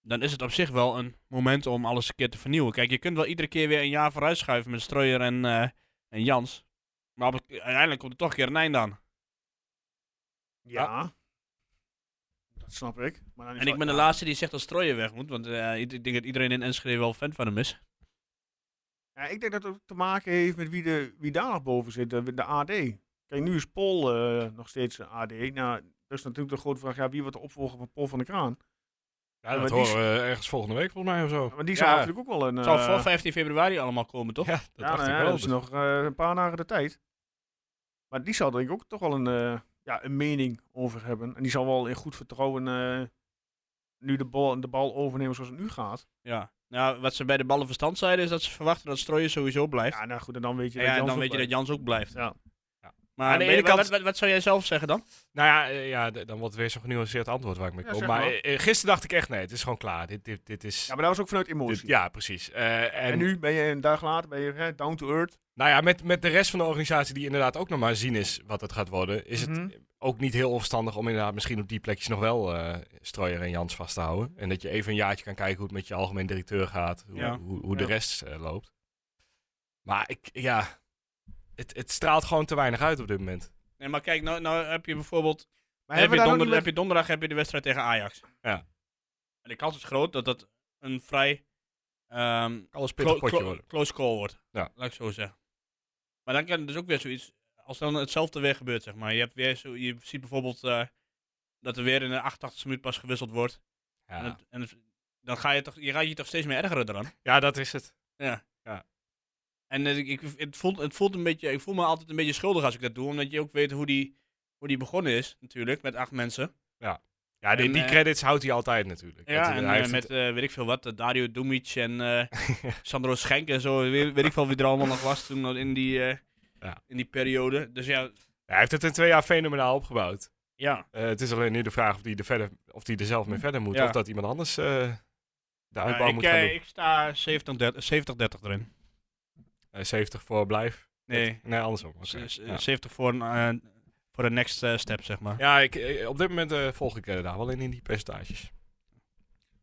Speaker 5: dan is het op zich wel een moment om alles een keer te vernieuwen. Kijk, je kunt wel iedere keer weer een jaar vooruit schuiven met Streuer en, eh, en Jans. Maar op het- uiteindelijk komt er toch een keer een eind aan.
Speaker 1: Ja. Dat snap ik. Maar dan is
Speaker 5: En
Speaker 1: wel-
Speaker 5: ik ben de
Speaker 1: ja.
Speaker 5: laatste die zegt dat Streuer weg moet. Want eh, ik ik denk dat iedereen in Enschede wel fan van hem is.
Speaker 1: Ja, ik denk dat het ook te maken heeft met wie, de, wie daar nog boven zit, eh, de, de AD. Kijk, nu is Pol eh, nog steeds een AD. Nou, dat is natuurlijk de grote vraag, ja, wie wordt de opvolger van Pol van de Kraan?
Speaker 4: Ja, dat
Speaker 1: maar die
Speaker 4: horen we eh, ergens volgende week volgens mij of zo.
Speaker 1: Maar die zou
Speaker 4: Ja.
Speaker 1: natuurlijk ook wel een...
Speaker 5: Het zou
Speaker 1: eh,
Speaker 5: voor 15 februari allemaal komen, toch?
Speaker 4: Ja, dat
Speaker 1: ja,
Speaker 4: dacht
Speaker 1: nou
Speaker 4: ik
Speaker 1: ja,
Speaker 4: wel.
Speaker 1: dat is
Speaker 4: dus-
Speaker 1: nog eh, een paar dagen de tijd. Maar die zal denk ik ook toch wel een, eh, ja, een mening over hebben. En die zal wel in goed vertrouwen eh, nu de bal, de bal overnemen zoals het nu gaat.
Speaker 5: Ja. Nou, wat ze bij de ballenverstand zeiden is dat ze verwachten dat Strooien sowieso blijft.
Speaker 1: Ja, nou goed, en dan weet je
Speaker 5: Ja, en
Speaker 1: Jans
Speaker 5: dan
Speaker 1: ook
Speaker 5: weet je dat
Speaker 1: blijft.
Speaker 5: Jans ook blijft.
Speaker 1: Ja.
Speaker 5: Maar
Speaker 4: Aan de
Speaker 5: ben-
Speaker 4: ene
Speaker 5: wat,
Speaker 4: kant-
Speaker 5: wat- wat zou jij zelf zeggen dan?
Speaker 4: Nou ja, eh, ja, d- dan wordt het weer zo'n genuanceerd antwoord waar ik mee
Speaker 1: Ja,
Speaker 4: kom.
Speaker 1: zeg
Speaker 4: maar
Speaker 1: maar.
Speaker 4: eh, eh, gisteren dacht ik echt, nee, het is gewoon klaar. Dit, dit, dit is...
Speaker 1: Ja, maar dat was ook vanuit emotie.
Speaker 4: dit- ja, precies. Eh, en,
Speaker 1: en, nu ben je een dag later, ben je hè, down to earth.
Speaker 4: Nou ja, met, met de rest van de organisatie die inderdaad ook nog maar zien is wat het gaat worden, is
Speaker 1: Mhm.
Speaker 4: het ook niet heel onverstandig om inderdaad misschien op die plekjes nog wel eh Strooier en Jans vast te houden. En dat je even een jaartje kan kijken hoe het met je algemeen directeur gaat, hoe,
Speaker 5: Ja.
Speaker 4: hoe, hoe de
Speaker 1: Ja.
Speaker 4: rest eh, loopt. Maar ik, ja, het, het straalt gewoon te weinig uit op dit moment.
Speaker 5: Nee, maar kijk, nou, nou heb je bijvoorbeeld
Speaker 1: Maar
Speaker 5: heb,
Speaker 1: hebben
Speaker 5: je
Speaker 1: we daar ook
Speaker 5: donder-
Speaker 1: niet
Speaker 5: heb je donderdag heb je de wedstrijd tegen Ajax.
Speaker 4: Ja.
Speaker 5: En de kans is groot dat dat een vrij ehm,
Speaker 4: Alles pittig
Speaker 5: clo-
Speaker 4: potje
Speaker 5: clo-
Speaker 4: worden.
Speaker 5: close call wordt.
Speaker 4: Ja.
Speaker 5: Laat ik zo zeggen. Maar dan kan er dus ook weer zoiets, als dan hetzelfde weer gebeurt, zeg maar. Je, hebt weer zo, je ziet bijvoorbeeld eh, dat er weer in de 88 minuut pas gewisseld wordt. En,
Speaker 4: Ja.
Speaker 5: het- en het- dan ga je, toch, je gaat je toch steeds meer ergeren eraan.
Speaker 4: ja, dat is het.
Speaker 5: En eh, ik, ik- het voelt, het voelt een beetje, ik voel me altijd een beetje schuldig als ik dat doe, omdat je ook weet hoe die, hoe die begonnen is, natuurlijk, met acht mensen.
Speaker 4: Ja, die,
Speaker 5: En,
Speaker 4: die
Speaker 5: eh,
Speaker 4: credits houdt hij altijd natuurlijk. Dat-
Speaker 5: Ja, en
Speaker 4: hij
Speaker 5: eh,
Speaker 4: heeft
Speaker 5: met
Speaker 4: het-
Speaker 5: eh, weet ik veel wat, eh, Dario Dumic en eh, Sandro Schenk en zo. Weet, weet ik veel wie er allemaal nog was toen in die, eh,
Speaker 4: Ja.
Speaker 5: in die periode. Dus ja,
Speaker 4: hij heeft het in twee jaar fenomenaal opgebouwd.
Speaker 5: ja.
Speaker 4: Eh, het is alleen nu de vraag of die er, verder, of die er zelf mee verder moet.
Speaker 5: Ja.
Speaker 4: Of dat iemand anders eh, de
Speaker 5: Ja,
Speaker 4: uitbouw
Speaker 5: ik,
Speaker 4: moet gaan
Speaker 5: eh,
Speaker 4: doen.
Speaker 5: ik sta 70-30 erin.
Speaker 4: Eh, 70 voor blijf.
Speaker 5: Nee,
Speaker 4: Nee, andersom. oké.
Speaker 5: z- z-
Speaker 4: ja.
Speaker 5: 70 voor een, eh, voor de next eh, step, zeg maar.
Speaker 4: Ja, ik, eh, op dit moment eh, volg ik eh, daar wel in, in die percentages.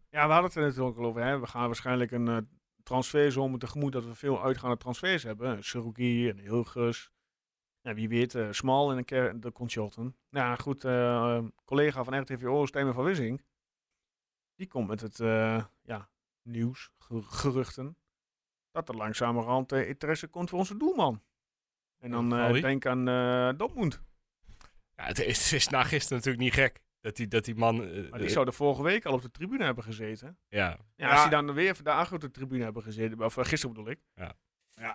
Speaker 1: Ja, we hadden het er natuurlijk al over. Hè. We gaan waarschijnlijk een eh transferzomer tegemoet dat we veel uitgaande transfers hebben. Seruki en Hilgers. Ja, wie weet, eh Smal en een keer de Consultant. Nou goed, eh, collega van RTV Steven van Wissing. Die komt met het eh, ja, nieuws, ge- geruchten. Dat er langzamerhand eh, interesse komt voor onze doelman. En dan
Speaker 4: Van
Speaker 1: eh,
Speaker 4: wie?
Speaker 1: denk aan eh Dortmund.
Speaker 4: Ja, het is, het is na gisteren natuurlijk niet gek. Dat die, dat die man... eh,
Speaker 1: Maar die
Speaker 4: eh,
Speaker 1: zou de vorige week al op de tribune hebben gezeten.
Speaker 4: ja.
Speaker 1: Ja,
Speaker 5: Ja.
Speaker 1: Als die dan weer vandaag op de tribune hebben gezeten, of eh, gisteren bedoel ik.
Speaker 5: Ja,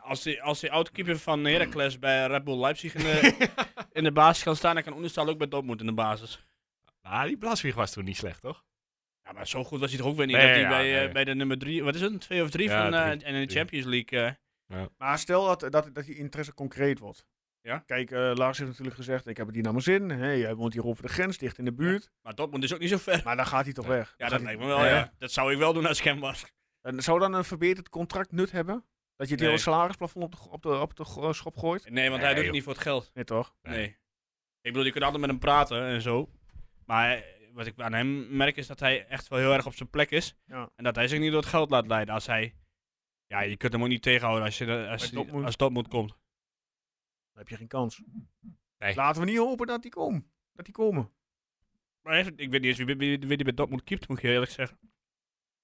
Speaker 5: als die, als die oud-keeper van Heracles bij Red Bull Leipzig in de, in de basis kan staan, dan kan Oenestal ook bij Dortmund in de basis.
Speaker 4: Maar Nou, die Blaswieg was toen niet slecht, toch?
Speaker 5: Ja, maar zo goed was hij toch ook weer niet.
Speaker 4: Nee,
Speaker 5: dat hij
Speaker 4: ja,
Speaker 5: bij, eh,
Speaker 4: nee.
Speaker 5: bij de nummer drie, wat is het, twee of drie
Speaker 4: Ja,
Speaker 5: van, eh,
Speaker 4: drie,
Speaker 5: en in de
Speaker 4: drie.
Speaker 5: Champions League... eh,
Speaker 1: Maar stel dat, dat, dat die interesse concreet wordt.
Speaker 5: Ja?
Speaker 1: Kijk, eh, Lars heeft natuurlijk gezegd, ik heb het hier naar mijn zin. Hey, hij woont hier over de grens, dicht in de buurt.
Speaker 5: Maar Dortmund is ook niet zo ver.
Speaker 1: Maar dan gaat hij toch
Speaker 4: Nee.
Speaker 1: weg.
Speaker 5: Ja,
Speaker 1: Gaat
Speaker 5: dat
Speaker 1: hij-
Speaker 5: lijkt me wel,
Speaker 1: Ja,
Speaker 5: ja.
Speaker 1: ja.
Speaker 5: Dat zou ik wel doen als ik hem was.
Speaker 1: En zou dan een verbeterd contract nut hebben? Dat je het
Speaker 5: Nee.
Speaker 1: hele salarisplafond op de, op de, op de go- schop gooit?
Speaker 5: Nee, want hij
Speaker 4: Nee, joh.
Speaker 5: doet het niet voor het geld.
Speaker 1: Nee, toch?
Speaker 4: Nee.
Speaker 5: Nee. Ik bedoel, je kunt altijd met hem praten en zo. Maar eh, wat ik aan hem merk is dat hij echt wel heel erg op zijn plek is.
Speaker 1: Ja.
Speaker 5: En dat hij zich niet door het geld laat leiden. Als hij... Ja, je kunt hem ook niet tegenhouden als, je, de- als,
Speaker 1: Bij
Speaker 5: die-
Speaker 1: Dortmund.
Speaker 5: als Dortmund komt.
Speaker 1: Dan heb je geen kans.
Speaker 4: Nee.
Speaker 1: Laten we niet hopen dat die komen. Dat die komen.
Speaker 5: Maar hij heeft- ik weet niet eens wie, wie, wie die bij Dortmund keept, moet ik je eerlijk zeggen.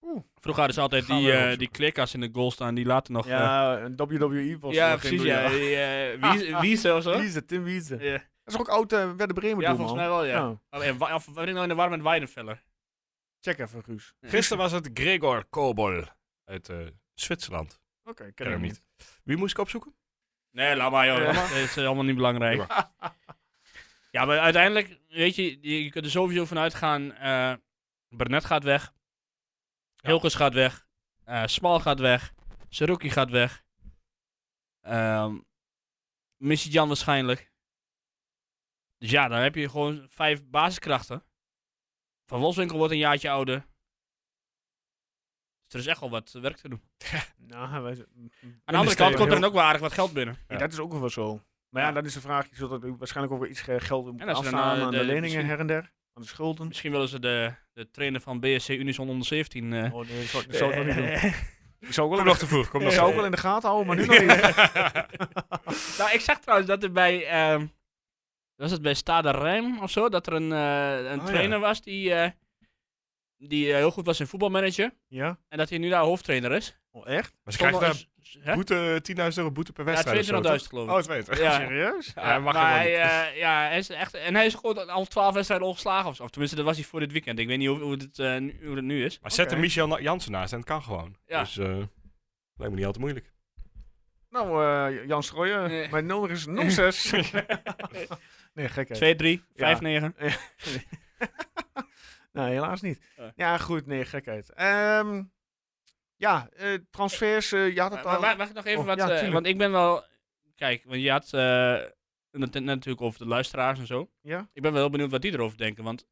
Speaker 1: Oeh.
Speaker 5: Vroeger hadden ze altijd
Speaker 4: Gaan
Speaker 5: die,
Speaker 4: we
Speaker 5: eh,
Speaker 4: opzoeken.
Speaker 5: die kleerkast in de goal staan, die later nog... eh,
Speaker 1: Ja, een WWE was
Speaker 5: ja
Speaker 1: nog geen
Speaker 5: precies.
Speaker 1: doel,
Speaker 5: Ja, die, eh, Wiese- Wiese of zo.
Speaker 1: Wiese, Tim Wiese.
Speaker 5: Ja.
Speaker 1: Dat is ook oud eh Werder Bremen
Speaker 5: Ja,
Speaker 1: doelman.
Speaker 5: volgens mij wel, ja.
Speaker 1: Ja.
Speaker 5: Oh, en wa- Of wat ik nou in de war met Weidenfeller.
Speaker 1: Check even, Guus.
Speaker 4: Gisteren was het Gregor Kobol uit eh, Zwitserland.
Speaker 1: Oké, ik ken
Speaker 4: Ken hem
Speaker 1: hem
Speaker 4: niet.
Speaker 1: niet.
Speaker 4: Wie moest ik opzoeken?
Speaker 5: Nee, laat maar joh.
Speaker 1: Ja.
Speaker 5: Dat is eh, allemaal niet belangrijk.
Speaker 4: Doe
Speaker 5: Ja, maar uiteindelijk, weet je, je je kunt er sowieso van uitgaan. eh Burnett gaat weg. Hilkes gaat weg. eh, Smal gaat weg. Saruki gaat weg. Ehm Missy Jan waarschijnlijk. Dus ja, dan heb je gewoon vijf basiskrachten. Van Wolfswinkel wordt een jaartje ouder. Dus er is echt al wat eh, werk te doen.
Speaker 1: Nou, wij,
Speaker 5: Aan de andere kant komt er dan ook wel aardig wat geld binnen.
Speaker 1: Ja, dat is ook nog wel zo. Maar ja,
Speaker 5: Ja.
Speaker 1: dan is de vraag, je zult er waarschijnlijk ook weer iets eh, geld moeten
Speaker 5: En als we dan,
Speaker 1: afstaan
Speaker 5: eh,
Speaker 1: aan de,
Speaker 5: de-
Speaker 1: leningen
Speaker 5: misschien-
Speaker 1: her en der, aan de schulden.
Speaker 5: Misschien willen ze de, de trainer van BSC Unison onder 17. eh,
Speaker 1: Oh eh. nee, dat zou, dat zou ik nog niet doen. Ik zou ook wel,
Speaker 4: Kom
Speaker 1: in
Speaker 4: nog
Speaker 1: de,
Speaker 4: te vroeg. Kom
Speaker 1: ik
Speaker 4: nog
Speaker 1: zou
Speaker 4: te
Speaker 1: ook wel
Speaker 4: vroeg.
Speaker 1: in de gaten houden, maar nu nog niet.
Speaker 5: Nou, ik zag trouwens dat er bij. ehm, was het bij Stade Rijm of zo? Dat er een, eh, een
Speaker 4: Oh,
Speaker 5: trainer was die. eh, die eh, heel goed was in voetbalmanager.
Speaker 1: Ja?
Speaker 5: En dat hij nu daar hoofdtrainer is.
Speaker 1: Oh, echt?
Speaker 4: Maar ze krijgen daar
Speaker 5: Zonder- hè?
Speaker 4: boete, 10.000 euro boete per
Speaker 5: Ja,
Speaker 4: wedstrijd. of zo,
Speaker 5: 22.000
Speaker 4: toch?
Speaker 5: geloof ik.
Speaker 4: Oh, 22.
Speaker 5: Ja.
Speaker 1: Serieus?
Speaker 4: Ja, hij mag
Speaker 5: maar
Speaker 4: helemaal
Speaker 5: hij,
Speaker 4: niet.
Speaker 5: eh, ja, hij is echt, en hij is gewoon al 12 wedstrijden ongeslagen. Of, zo. of tenminste, dat was hij voor dit weekend. Ik weet niet hoe, hoe, het, eh, nu, hoe het nu is.
Speaker 4: Maar zet
Speaker 1: Oké.
Speaker 4: er Michel Na- Jansen naast en het kan gewoon.
Speaker 5: Ja.
Speaker 4: Dus eh, lijkt me niet al te moeilijk.
Speaker 1: Nou, eh, Jan Strooijen,
Speaker 5: Nee.
Speaker 1: mijn nummer is nog zes. nee, gekheid.
Speaker 5: 2-3, 5-9.
Speaker 1: Ja. Nou, helaas niet.
Speaker 5: Eh.
Speaker 1: Ja, goed, nee, gekheid. Ehm, Ja, eh, transfers, eh, je had het
Speaker 5: Maar,
Speaker 1: al.
Speaker 5: maar mag ik nog even
Speaker 1: Oh,
Speaker 5: wat...
Speaker 1: ja,
Speaker 5: eh,
Speaker 1: tuurlijk.
Speaker 5: want ik ben wel... Kijk, want je had eh, het net natuurlijk over de luisteraars en zo.
Speaker 1: Ja?
Speaker 5: Ik ben wel heel benieuwd wat die erover denken. Want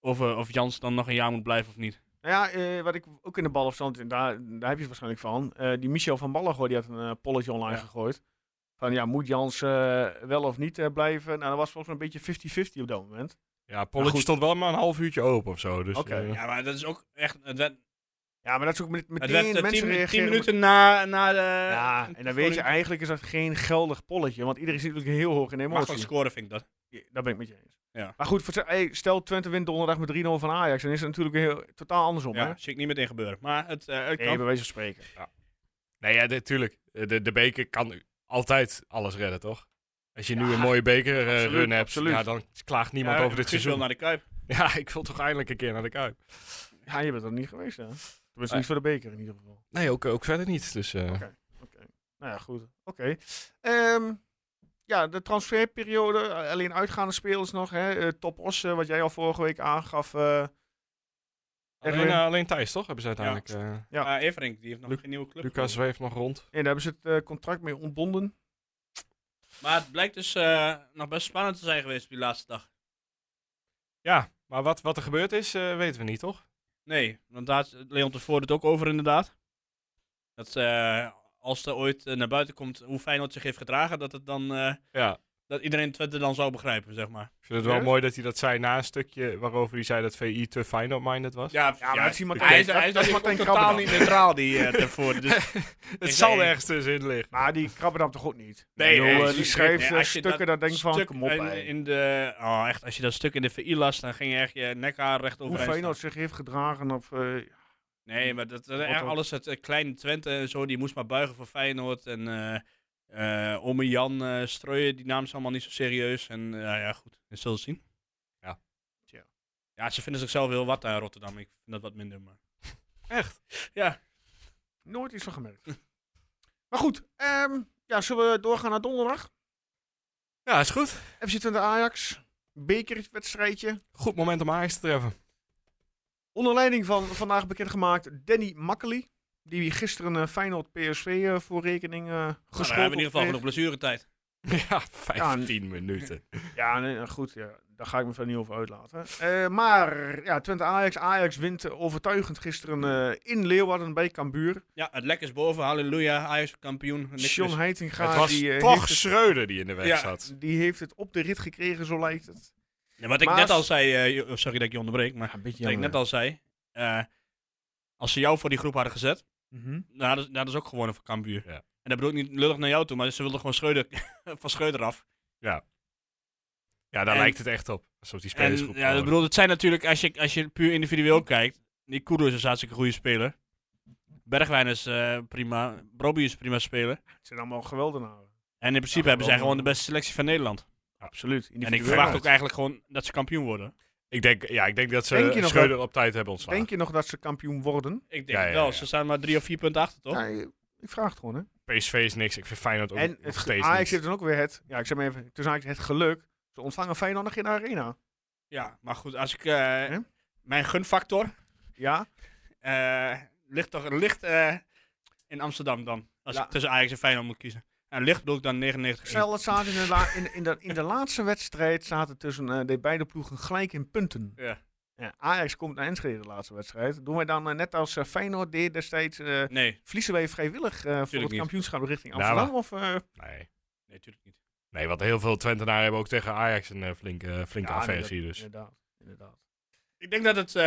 Speaker 5: of, eh, of Jans dan nog een jaar moet blijven of niet.
Speaker 1: Nou ja, eh, wat ik ook in de bal en daar, daar heb je het waarschijnlijk van. eh, die Michel van Ballagoy, die had een eh, polletje online
Speaker 5: Ja.
Speaker 1: gegooid. Van ja, moet Jans eh, wel of niet eh, blijven? Nou, dat was volgens mij een beetje 50-50 op dat moment.
Speaker 4: Ja,
Speaker 1: Maar
Speaker 4: Polletje
Speaker 1: Nou, goed.
Speaker 4: stond wel maar een half uurtje open of zo. Dus,
Speaker 1: Oké.
Speaker 4: eh,
Speaker 5: Ja, maar dat is ook echt... Het werd,
Speaker 1: Ja, maar dat is ook met,
Speaker 5: het
Speaker 1: meteen
Speaker 5: werd eh,
Speaker 1: mensen
Speaker 5: tien, tien
Speaker 1: reageren.
Speaker 5: minuten na, na eh, de...
Speaker 1: ja, en dan weet je, eigenlijk is dat geen geldig polletje. Want iedereen zit natuurlijk heel hoog in
Speaker 5: Mag wel
Speaker 1: emotie.
Speaker 5: scoren, vind ik dat.
Speaker 1: Ja, Daar ben ik met je eens.
Speaker 5: Ja.
Speaker 1: Maar goed, voor- hey, stel Twente wint donderdag met 3-0 van Ajax. Dan is het natuurlijk weer heel, totaal andersom.
Speaker 5: Ja,
Speaker 1: hè?
Speaker 5: zie ik niet meteen gebeuren. Maar het, eh, het
Speaker 1: Nee,
Speaker 5: kan.
Speaker 1: bij wijze van spreken.
Speaker 4: Nee, ja, natuurlijk. De, de beker kan altijd alles redden, toch? Als je nu een mooie beker eh,
Speaker 1: absoluut,
Speaker 4: run hebt,
Speaker 1: absoluut.
Speaker 4: Ja, dan klaagt niemand
Speaker 5: Ja,
Speaker 4: over dit
Speaker 5: Guus Eh, wil
Speaker 4: seizoen.
Speaker 5: naar de Kuip.
Speaker 4: Ja, ik wil toch eindelijk een keer naar de Kuip.
Speaker 1: Ja, je bent er niet geweest, hè? Tenminste,
Speaker 4: Nee.
Speaker 1: niet voor de beker in ieder geval.
Speaker 4: Nee, ook, ook verder niet. Dus, eh,
Speaker 1: Oké. Nou ja, goed. Oké. Ehm, ja, de transferperiode. eh, Alleen uitgaande spelers nog. Hè? Eh, Top Os, eh, wat jij al vorige week aangaf. eh,
Speaker 4: alleen,
Speaker 1: Erwin.
Speaker 4: eh, alleen Thijs, toch? Hebben ze uiteindelijk. eh,
Speaker 1: Ja.
Speaker 5: Ah, Everink, die heeft nog
Speaker 4: Luc-
Speaker 5: geen nieuwe club.
Speaker 4: Lucas zweeft nog rond.
Speaker 1: en daar hebben ze het eh, contract mee ontbonden.
Speaker 5: Maar het blijkt dus eh, nog best spannend te zijn geweest op die laatste dag.
Speaker 4: Ja, maar wat, wat er gebeurd is, eh, weten we niet, toch?
Speaker 5: Nee, want daar had Leon tevoren het ook over inderdaad. Dat eh, als er ooit eh, naar buiten komt hoe Feyenoord zich heeft gedragen, dat, het dan, eh,
Speaker 4: Ja.
Speaker 5: dat iedereen Twente dan zou begrijpen, zeg maar.
Speaker 4: Ik vind het wel
Speaker 1: Ja?
Speaker 4: mooi dat hij dat zei na een stukje waarover hij zei dat VI te Feyenoord-minded was.
Speaker 5: Ja,
Speaker 1: Ja, maar dat is iemand-
Speaker 5: hij is,
Speaker 1: dat-
Speaker 5: hij is
Speaker 1: dat is
Speaker 5: ook
Speaker 1: Martijn
Speaker 5: totaal
Speaker 1: Krabbe
Speaker 5: niet neutraal, die eh, tevoren. Dus,
Speaker 4: het
Speaker 5: Ik
Speaker 4: zal
Speaker 5: weet-
Speaker 4: ergens dus tussenin liggen.
Speaker 1: Maar die krabben dan toch ook niet?
Speaker 5: Nee,
Speaker 1: Ik bedoel,
Speaker 5: nee,
Speaker 1: eh,
Speaker 5: ze-
Speaker 1: die schrijft
Speaker 5: nee,
Speaker 1: eh,
Speaker 5: als je
Speaker 1: stukken, dat denk ik van,
Speaker 5: stuk
Speaker 1: kom op,
Speaker 5: in,
Speaker 1: hè.
Speaker 5: in de, oh, echt, als je dat stuk in de VI las, dan ging je echt je nekhaar recht
Speaker 1: Hoe
Speaker 5: over.
Speaker 1: Feyenoord zich heeft gedragen of... eh,
Speaker 5: Nee, maar dat, dat-
Speaker 1: Wat
Speaker 5: echt
Speaker 1: dan?
Speaker 5: alles, het eh, kleine Twente en zo, die moest maar buigen voor Feyenoord. En eh, eh, Ome Jan eh Strooijen, die namen ze allemaal niet zo serieus. En eh, nou ja, goed, we zullen zien.
Speaker 4: Ja.
Speaker 1: Tja.
Speaker 5: Ja, ze vinden zichzelf heel wat daar in Rotterdam. Ik vind dat wat minder, maar... Nou,
Speaker 4: Echt?
Speaker 1: nooit iets van gemerkt. maar goed, ehm, ja, zullen we doorgaan naar donderdag?
Speaker 4: Ja, is goed.
Speaker 1: FC Twente Ajax, bekerwedstrijdje.
Speaker 4: Goed moment om Ajax te treffen.
Speaker 1: Onder leiding van vandaag bekendgemaakt Danny Makkely. Die gisteren eh, Feyenoord PSV eh, voor rekening eh
Speaker 5: Nou, dan
Speaker 1: geschoold
Speaker 5: hebben we in ieder geval
Speaker 1: kreeg.
Speaker 5: genoeg blessuretijd.
Speaker 4: Ja, 15 minuten.
Speaker 1: Ja, nee, nou goed, ja, daar ga ik me verder niet over uitlaten. Eh, maar ja, Twente Ajax. Ajax wint eh, overtuigend gisteren eh, in Leeuwarden bij Cambuur.
Speaker 5: Ja, het lek is boven. Halleluja, Ajax kampioen. Niks
Speaker 1: John
Speaker 5: mis.
Speaker 1: Heitinga
Speaker 4: het was
Speaker 1: die, eh,
Speaker 4: toch
Speaker 1: heeft
Speaker 4: Schreuder die in de weg
Speaker 5: Ja.
Speaker 4: zat.
Speaker 1: het, die heeft het op de rit gekregen, zo lijkt het.
Speaker 5: Ja, wat ik
Speaker 1: Maar
Speaker 5: net
Speaker 1: als-
Speaker 5: al zei, eh, jo- sorry dat ik je onderbreek, maar
Speaker 1: een beetje
Speaker 5: wat ik net al zei, eh, als ze jou voor die groep hadden gezet, Nou, dat, is- nou, dat is ook gewonnen van Cambuur.
Speaker 4: Ja.
Speaker 5: En dat bedoel ik niet lullig naar jou toe, maar ze wilden gewoon Schreuder, van Schreuder af.
Speaker 4: Ja, daar
Speaker 5: En-
Speaker 4: lijkt het echt op. Alsof die
Speaker 5: En,
Speaker 4: spelersgroep.
Speaker 5: ja, ik bedoel, het zijn natuurlijk, als je, als je puur individueel kijkt, die Kudo is een hartstikke goede speler. Bergwijn is eh, prima, Brobbey is een prima speler.
Speaker 1: Het zijn allemaal geweldenaren.
Speaker 5: En in principe
Speaker 1: Ja,
Speaker 5: hebben zij
Speaker 1: wel.
Speaker 5: gewoon de beste selectie van Nederland.
Speaker 1: Absoluut.
Speaker 5: En ik
Speaker 1: individueel.
Speaker 5: verwacht ook eigenlijk gewoon dat ze kampioen worden.
Speaker 4: ik, denk, ja, ik denk dat ze
Speaker 1: Denk je nog
Speaker 4: Schreuder op tijd hebben ontslagen.
Speaker 1: Denk je nog dat ze kampioen worden?
Speaker 5: Ik denk
Speaker 4: Ja,
Speaker 5: het
Speaker 4: ja,
Speaker 5: wel,
Speaker 4: ja.
Speaker 5: ze staan maar drie of vier punten achter, toch?
Speaker 1: Ja, ik vraag het gewoon, hè.
Speaker 4: PSV is niks. Ik vind Feyenoord ook
Speaker 1: En
Speaker 4: nog
Speaker 1: het,
Speaker 4: steeds
Speaker 1: Ajax
Speaker 4: niks.
Speaker 1: heeft dan ook weer het, ja, ik zeg maar even, tussen Ajax het geluk. Ze ontvangen Feyenoord nog in de arena.
Speaker 5: Ja, maar goed, als ik... eh,
Speaker 1: Hè?
Speaker 5: Mijn gunfactor
Speaker 1: Ja,
Speaker 5: eh, ligt toch ligt eh, in Amsterdam dan. Als
Speaker 1: Ja.
Speaker 5: ik tussen Ajax en Feyenoord moet kiezen. En ligt bedoel ik dan 99 in.
Speaker 1: stel het staat in de, la- in, in de, in de laatste wedstrijd zaten tussen eh, de beide ploegen gelijk in punten.
Speaker 5: Ja.
Speaker 1: Ja, Ajax komt naar Enschede de laatste wedstrijd. Doen wij dan eh, net als eh, Feyenoord deed destijds, eh
Speaker 5: Nee,
Speaker 1: verliezen wij vrijwillig eh, voor het
Speaker 5: niet.
Speaker 1: kampioenschap richting
Speaker 4: Nou,
Speaker 1: Amsterdam? of, eh,
Speaker 4: Nee.
Speaker 5: nee, natuurlijk niet.
Speaker 4: nee, want heel veel Twentenaren hebben ook tegen Ajax een eh, flinke, flinke
Speaker 1: ja, nee,
Speaker 4: aversie.
Speaker 1: dat-
Speaker 4: dus.
Speaker 1: Inderdaad, inderdaad.
Speaker 5: Ik denk dat het, eh,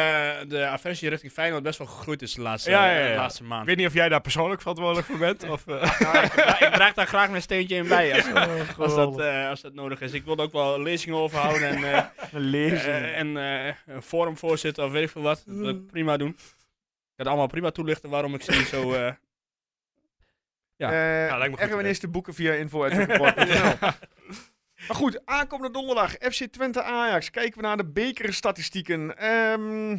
Speaker 5: de aversie richting Feyenoord best wel gegroeid is de laatste,
Speaker 4: Ja, ja, ja.
Speaker 5: de laatste
Speaker 4: Ik
Speaker 5: maand.
Speaker 4: weet niet of jij daar persoonlijk verantwoordelijk voor bent. Of, eh,
Speaker 5: Nou, ik, dra- ik draag daar graag mijn steentje in bij als, als, dat,
Speaker 1: geweldig.
Speaker 5: eh, als dat nodig is. Ik wil er ook wel lezingen over houden en, eh,
Speaker 1: Een lezing.
Speaker 5: eh, en eh, een forum voorzitten of weet ik veel wat. Dat wil ik
Speaker 1: Mm.
Speaker 5: prima doen. Ik kan allemaal prima toelichten waarom ik ze niet zo... eh, ja.
Speaker 1: Eh,
Speaker 4: Ja, lijkt me goed
Speaker 1: Erwin
Speaker 4: idee.
Speaker 1: is te boeken via info.tukkenbord.nl. Maar goed, aankomende donderdag FC Twente Ajax. Kijken we naar de bekerstatistieken. Ehm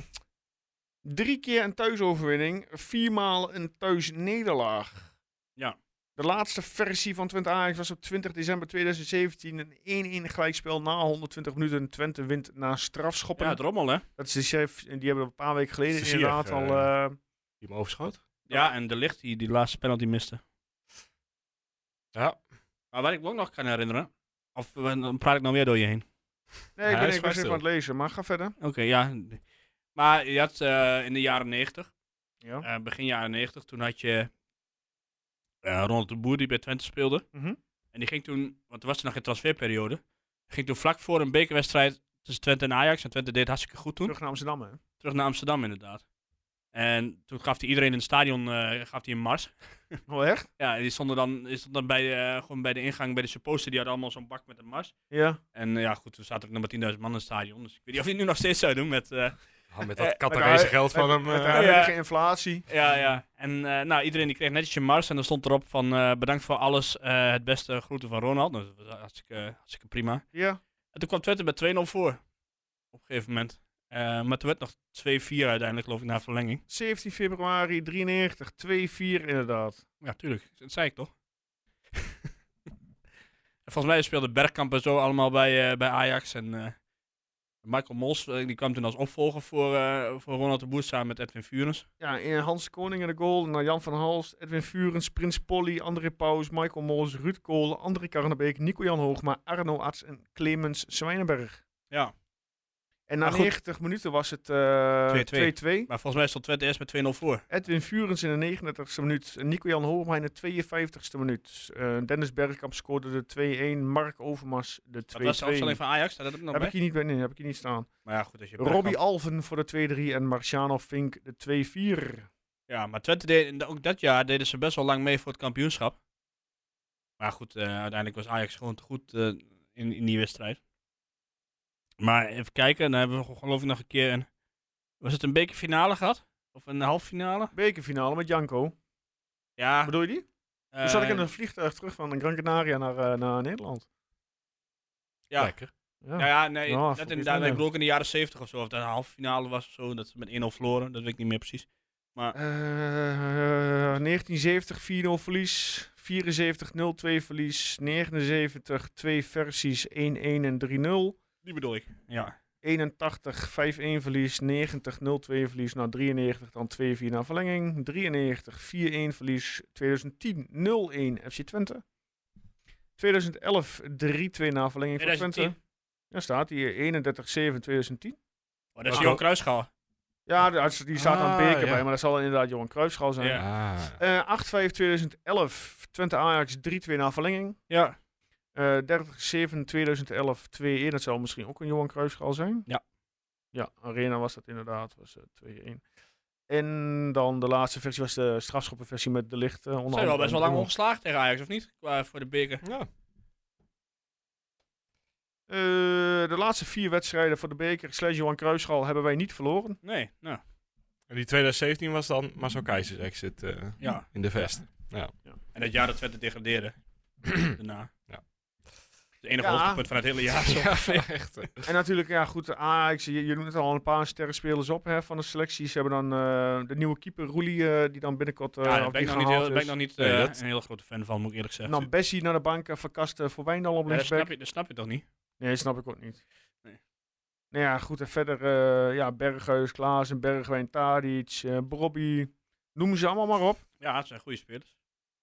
Speaker 1: drie keer een thuisoverwinning, viermaal een thuisnederlaag.
Speaker 5: Ja.
Speaker 1: De laatste versie van Twente Ajax was op 20 december 2017 een 1-1 gelijkspel na 120 minuten. Twente wint na strafschoppen.
Speaker 5: ja, het rommel hè.
Speaker 1: dat is de chef, en die hebben we een paar weken geleden
Speaker 4: Plezier,
Speaker 1: inderdaad al
Speaker 4: eh.
Speaker 1: eh,
Speaker 4: die hem overschoot?
Speaker 5: Ja, en de licht die die laatste penalty miste.
Speaker 4: Ja.
Speaker 5: Maar wat ik me ook nog kan herinneren. Of eh, dan praat ik nou weer door je heen.
Speaker 1: Nee, ik
Speaker 4: hij
Speaker 1: ben,
Speaker 4: is
Speaker 1: ik was
Speaker 4: vast
Speaker 1: even aan het lezen, maar ga verder.
Speaker 5: Oké, ja. Maar je had eh, in de jaren 90,
Speaker 1: Ja.
Speaker 5: eh, begin jaren 90, toen had je eh Ronald de Boer die bij Twente speelde.
Speaker 1: Mhm.
Speaker 5: En die ging toen, want er was toen nog geen transferperiode, ging toen vlak voor een bekerwedstrijd tussen Twente en Ajax. En Twente deed het hartstikke goed toen.
Speaker 1: Terug naar Amsterdam, hè?
Speaker 5: Terug naar Amsterdam inderdaad. En toen gaf hij iedereen in het stadion eh, gaf hij een mars.
Speaker 1: Oh, echt?
Speaker 5: Ja, en die stonden dan, die stonden dan bij, de, eh, gewoon bij de ingang bij de supposter. Die hadden allemaal zo'n bak met een mars.
Speaker 1: Ja.
Speaker 5: En eh, ja, goed, toen zaten er ook nog maar 10.000 man in het stadion. Dus ik weet niet of hij het nu nog steeds zou doen met... eh,
Speaker 4: Ah, met
Speaker 5: Eh,
Speaker 4: dat
Speaker 5: met
Speaker 4: Catarese
Speaker 1: de-
Speaker 4: geld van hem.
Speaker 1: Met de
Speaker 4: eh,
Speaker 5: ja.
Speaker 1: huidige inflatie.
Speaker 5: Ja, ja. En eh, nou, iedereen die kreeg netjes een mars. En dan stond erop van eh, bedankt voor alles. eh, het beste groeten van Ronald. Nou, dat was hartstikke, hartstikke prima.
Speaker 1: Ja.
Speaker 5: En toen kwam Twente met 2-0 voor. Op een gegeven moment. Eh, maar toen werd nog 2-4 uiteindelijk, geloof ik, na verlenging.
Speaker 1: 17 februari 93, 2-4 inderdaad.
Speaker 5: Ja, tuurlijk. Dat zei ik toch? En Volgens mij speelden Bergkamp en zo allemaal bij, eh, bij Ajax. En eh, Michael Mols, eh, die kwam toen als opvolger voor, eh, voor Ronald de Boer samen met Edwin Vurens.
Speaker 1: Ja, en Hans Koning in de goal. Nou, Jan van Halst, Edwin Vurens, Prins Polly, André Pauws, Michael Mols, Ruud Kool, André Karnebeek, Nico-Jan Hoogma, Arno Arts en Clemens Zwijnenberg.
Speaker 5: Ja.
Speaker 1: En na
Speaker 5: Maar Ah, goed.
Speaker 1: 90 minuten was het eh,
Speaker 5: 2-2.
Speaker 1: 2-2.
Speaker 5: Maar volgens mij stond Twente eerst met 2-0 voor.
Speaker 1: Edwin Vurens in de 39ste minuut. En Nico-Jan Hoogma in de 52ste minuut. Eh, Dennis Bergkamp scoorde de 2-1. Mark Overmars de 2-2.
Speaker 5: Dat was de opstelling van Ajax, staat dat ook nog
Speaker 1: heb
Speaker 5: bij?
Speaker 1: ik hier niet bij, nee, heb ik hier niet staan.
Speaker 5: Maar ja, goed, als je
Speaker 1: Robbie Alven voor de 2-3 en Marciano Fink de 2-4.
Speaker 5: Ja, maar Twente deed, en ook dat jaar deden ze best wel lang mee voor het kampioenschap. Maar goed, eh, uiteindelijk was Ajax gewoon te goed eh, in, in die wedstrijd. Maar even kijken, dan hebben we ge- geloof ik nog een keer een... Was het een bekerfinale gehad? Of een halve finale?
Speaker 1: Bekerfinale met Janko.
Speaker 5: Ja. eh,
Speaker 1: Bedoel je die? Toen zat ik in een vliegtuig terug van Gran Canaria naar, eh, naar Nederland.
Speaker 5: Ja,
Speaker 4: Lekker.
Speaker 1: Ja.
Speaker 5: ja, ja nee,
Speaker 1: Ja,
Speaker 5: dat
Speaker 1: voor die
Speaker 5: inderdaad. Ik
Speaker 1: winnen.
Speaker 5: bedoel ook in de jaren 70 of zo. Of dat een halve finale was of zo. Dat ze met 1-0 verloren. Dat weet ik niet meer precies.
Speaker 1: Eh, 1970 4-0 verlies. 74 0-2 verlies. 79 2 versies 1-1 en 3-0.
Speaker 5: Die bedoel ik. Ja.
Speaker 1: 81, 5-1 verlies, 90, 0-2 verlies, na 93, dan 2-4 na verlenging, 93, 4-1 verlies, 2010, 0-1 FC Twente. 2011, 3-2 na verlenging voor
Speaker 5: 2010.
Speaker 1: Twente. Ja, staat hier, 31, 7, 2010.
Speaker 5: Oh, dat is
Speaker 4: Oh.
Speaker 5: Johan Kruisgaal.
Speaker 1: Ja, daar- die staat aan
Speaker 4: Ah,
Speaker 1: beker
Speaker 4: ja.
Speaker 1: bij, maar dat zal inderdaad Johan Cruijffschal zijn.
Speaker 5: Ja.
Speaker 4: Ah.
Speaker 1: Eh, 8-5, 2011, Twente Ajax, 3-2 na verlenging.
Speaker 5: Ja.
Speaker 1: Eh 30, 7, 2011, 2-1. Dat zou misschien ook een Johan Cruijffschaal zijn.
Speaker 5: Ja.
Speaker 1: Ja, Arena was dat inderdaad. was eh, 2-1. En dan de laatste versie was de strafschoppenversie met de licht. eh, onder
Speaker 5: Zijn we
Speaker 1: andere
Speaker 5: al best wel lang
Speaker 1: Doel.
Speaker 5: ongeslaagd tegen Ajax, of niet? Qua voor de beker.
Speaker 4: Ja.
Speaker 1: Eh, de laatste vier wedstrijden voor de beker slash Johan Cruijffschaal hebben wij niet verloren.
Speaker 5: Nee, nou,
Speaker 4: En die 2017 was dan Marcel Keizers exit eh,
Speaker 5: ja.
Speaker 4: in de vest.
Speaker 5: En dat jaar dat Twente degradeerde. Daarna.
Speaker 4: Ja.
Speaker 5: Het enige
Speaker 1: Ja.
Speaker 5: hoogtepunt van het hele jaar. zo.
Speaker 4: echt. eh.
Speaker 1: En natuurlijk, ja goed, de Ajax, je, je noemt het al een paar sterrenspelers op hè, van de selecties. Ze hebben dan eh, de nieuwe keeper Roelie, eh, die dan binnenkort eh
Speaker 5: Ja, daar
Speaker 1: of
Speaker 5: ben
Speaker 1: die
Speaker 5: ik nog niet,
Speaker 1: gehaald
Speaker 5: heel, ben ik
Speaker 1: is.
Speaker 5: nog niet
Speaker 4: Nee,
Speaker 5: eh,
Speaker 4: dat-
Speaker 5: een hele grote fan van, moet ik eerlijk zeggen.
Speaker 1: Nam Bessie naar de bank en verkaste voor Wijndal op
Speaker 5: Ja, dat,
Speaker 1: linksback.
Speaker 5: snap je, dat snap je toch niet?
Speaker 1: Nee, snap ik ook niet.
Speaker 5: Nee.
Speaker 1: Nou ja, goed. En verder eh, ja, Bergheus, Klaassen, Bergwijn, Tadic, eh Brobby. Noem ze allemaal maar op.
Speaker 5: Ja, het zijn goede spelers.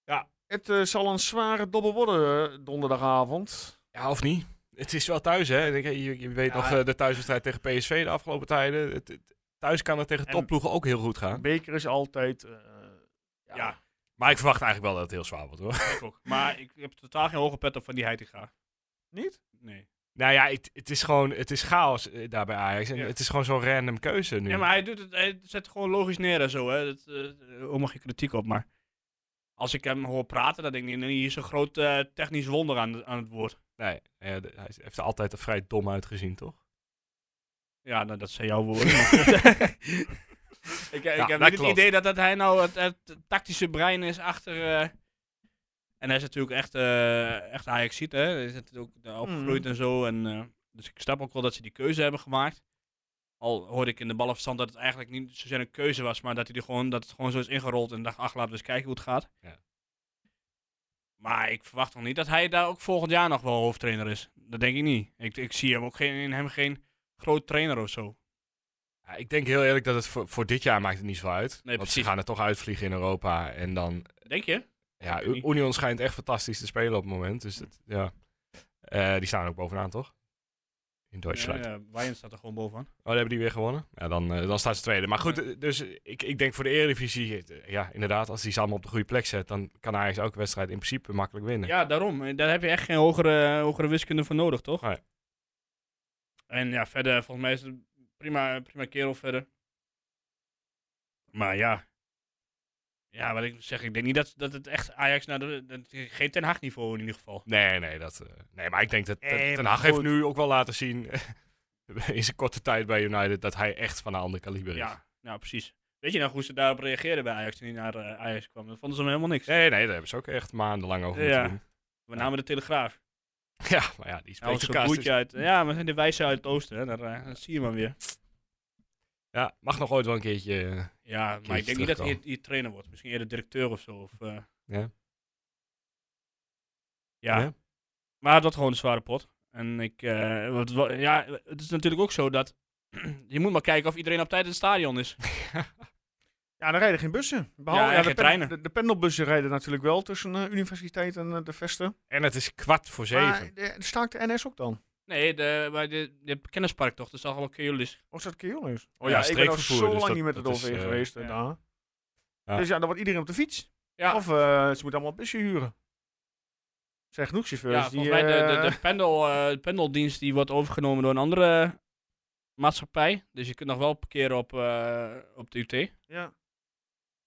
Speaker 1: Het eh, zal een zware dobbel worden eh, donderdagavond.
Speaker 4: Ja, of niet? Het is wel thuis, hè? Ik denk, Je, je weet
Speaker 5: Ja.
Speaker 4: nog eh, de thuiswedstrijd tegen PSV de afgelopen tijden. Het, het- thuis kan het tegen
Speaker 1: En-
Speaker 4: topploegen ook heel goed gaan.
Speaker 1: Beker is altijd... eh,
Speaker 5: Ja,
Speaker 1: ja.
Speaker 4: Maar ik verwacht eigenlijk wel dat het heel zwaar wordt, hoor.
Speaker 5: ik ook. Maar ik heb totaal geen hoge pet op van die Heitinga.
Speaker 1: Niet?
Speaker 5: Nee.
Speaker 4: nou ja, het, het is gewoon het is chaos eh, daar bij Ajax. En
Speaker 5: Ja.
Speaker 4: het is gewoon zo'n random keuze nu.
Speaker 5: Ja, maar hij, doet het, hij zet het gewoon logisch neer en zo. Hè. Dat, eh ook mag je kritiek op, maar... Als ik hem hoor praten, dan denk ik, nee, hier is een groot eh, technisch wonder aan, aan het woord.
Speaker 4: Nee, eh, de- hij heeft er altijd er vrij dom uitgezien, toch?
Speaker 5: Ja, nou, dat zijn jouw woorden. maar- eh, ik, ik
Speaker 4: dat
Speaker 5: heb niet het
Speaker 4: klopt.
Speaker 5: idee dat, dat hij nou het, het tactische brein is achter... eh, en hij is natuurlijk echt, eh echt ajax hè. Hij is natuurlijk ook daar opgegroeid en zo. En, eh, dus ik snap ook wel dat ze die keuze hebben gemaakt. Al hoorde ik in de balafstand dat het eigenlijk niet zozeer een keuze was, maar dat, hij er gewoon, dat het gewoon zo is ingerold en dacht, ach, laten we eens kijken hoe het gaat.
Speaker 4: Ja.
Speaker 5: Maar ik verwacht nog niet dat hij daar ook volgend jaar nog wel hoofdtrainer is. Dat denk ik niet. Ik, ik zie hem ook geen, in hem geen groot trainer of zo.
Speaker 4: Ja, ik denk heel eerlijk dat het voor, voor dit jaar maakt het niet zo uit.
Speaker 5: Nee,
Speaker 4: want ze
Speaker 5: precies.
Speaker 4: gaan er toch uitvliegen in Europa. En dan,
Speaker 5: Denk je?
Speaker 4: ja,
Speaker 5: weet het niet.
Speaker 4: Union schijnt echt fantastisch te spelen op het moment. Dus dat, ja. Eh, die staan ook bovenaan, toch? In Duitsland.
Speaker 5: Ja, ja, Bayern staat er gewoon bovenaan.
Speaker 4: Oh, dan hebben die weer gewonnen? Ja, dan, eh, dan staat ze tweede. Maar goed, eh, dus ik, ik denk voor de Eredivisie, eh, ja, inderdaad, als die ze allemaal op de goede plek zet, dan kan Ajax elke wedstrijd in principe makkelijk winnen.
Speaker 5: Ja, daarom. Eh, Daar heb je echt geen hogere, hogere wiskunde voor nodig, toch?
Speaker 4: Nee.
Speaker 5: En ja, verder, volgens mij is het een prima, prima kerel verder. Maar ja. Ja, wat ik zeg, ik denk niet dat, dat het echt Ajax naar de... dat- geen Ten Hag niveau in ieder geval.
Speaker 4: Nee, nee, dat, eh, nee, maar ik denk dat
Speaker 1: Nee,
Speaker 4: Ten- Ten
Speaker 1: maar
Speaker 4: Hag heeft
Speaker 1: goed.
Speaker 4: nu ook wel laten zien, in zijn korte tijd bij United, dat hij echt van een ander kaliber is.
Speaker 5: Ja, nou precies. Weet je nou hoe ze daarop reageerden bij Ajax toen hij naar eh, Ajax kwam? Dat vonden ze hem helemaal niks.
Speaker 4: Nee, nee, daar hebben ze ook echt maandenlang over moeten
Speaker 5: Ja.
Speaker 4: doen.
Speaker 5: We namen de Telegraaf.
Speaker 4: Ja, maar ja, die
Speaker 5: Hij
Speaker 4: spreekt
Speaker 5: was
Speaker 4: elkaar
Speaker 5: een
Speaker 4: dus-
Speaker 5: broertje uit... Ja, maar de wijze uit het oosten, hè. Daar, eh, dat zie je maar weer.
Speaker 4: Ja, mag nog ooit wel een keertje. eh,
Speaker 5: Ja, maar ik denk niet dat hij
Speaker 4: terugkomen.
Speaker 5: hier trainer wordt. Misschien eerder directeur of zo. Of, eh.
Speaker 4: Ja.
Speaker 5: ja.
Speaker 4: Ja.
Speaker 5: Maar dat gewoon een zware pot. En ik, eh, wat, wa- ja, het is natuurlijk ook zo dat je moet maar kijken of iedereen op tijd in het stadion is.
Speaker 1: Ja, dan rijden geen bussen.
Speaker 5: Ja, en
Speaker 1: de,
Speaker 5: geen treinen.
Speaker 1: de, de pendelbussen rijden natuurlijk wel tussen de universiteit en eh, de vesten.
Speaker 4: En het is kwart voor zeven.
Speaker 1: Maar eh, de, staakt de NS ook dan?
Speaker 5: Nee, de, bij de, de kennispark toch, dat is allemaal keurlis.
Speaker 1: Of is dat Keolis?
Speaker 4: Ja,
Speaker 1: ik ben al
Speaker 4: streekvervoer,
Speaker 1: zo
Speaker 4: dus
Speaker 1: lang
Speaker 4: dat-
Speaker 1: niet met het
Speaker 4: dat
Speaker 1: OV
Speaker 4: is, eh,
Speaker 1: geweest. eh,
Speaker 5: ja.
Speaker 1: daar.
Speaker 4: Ja.
Speaker 1: Dus ja, dan wordt iedereen op de fiets.
Speaker 5: Ja,
Speaker 1: Of eh, ze moeten allemaal bussen huren. Er zijn genoeg chauffeurs
Speaker 5: ja
Speaker 1: die...
Speaker 5: volgens mij de, de,
Speaker 1: eh,
Speaker 5: de pendel, eh, de pendeldienst die wordt overgenomen door een andere maatschappij. Dus je kunt nog wel parkeren op, eh, op de UT.
Speaker 1: ja.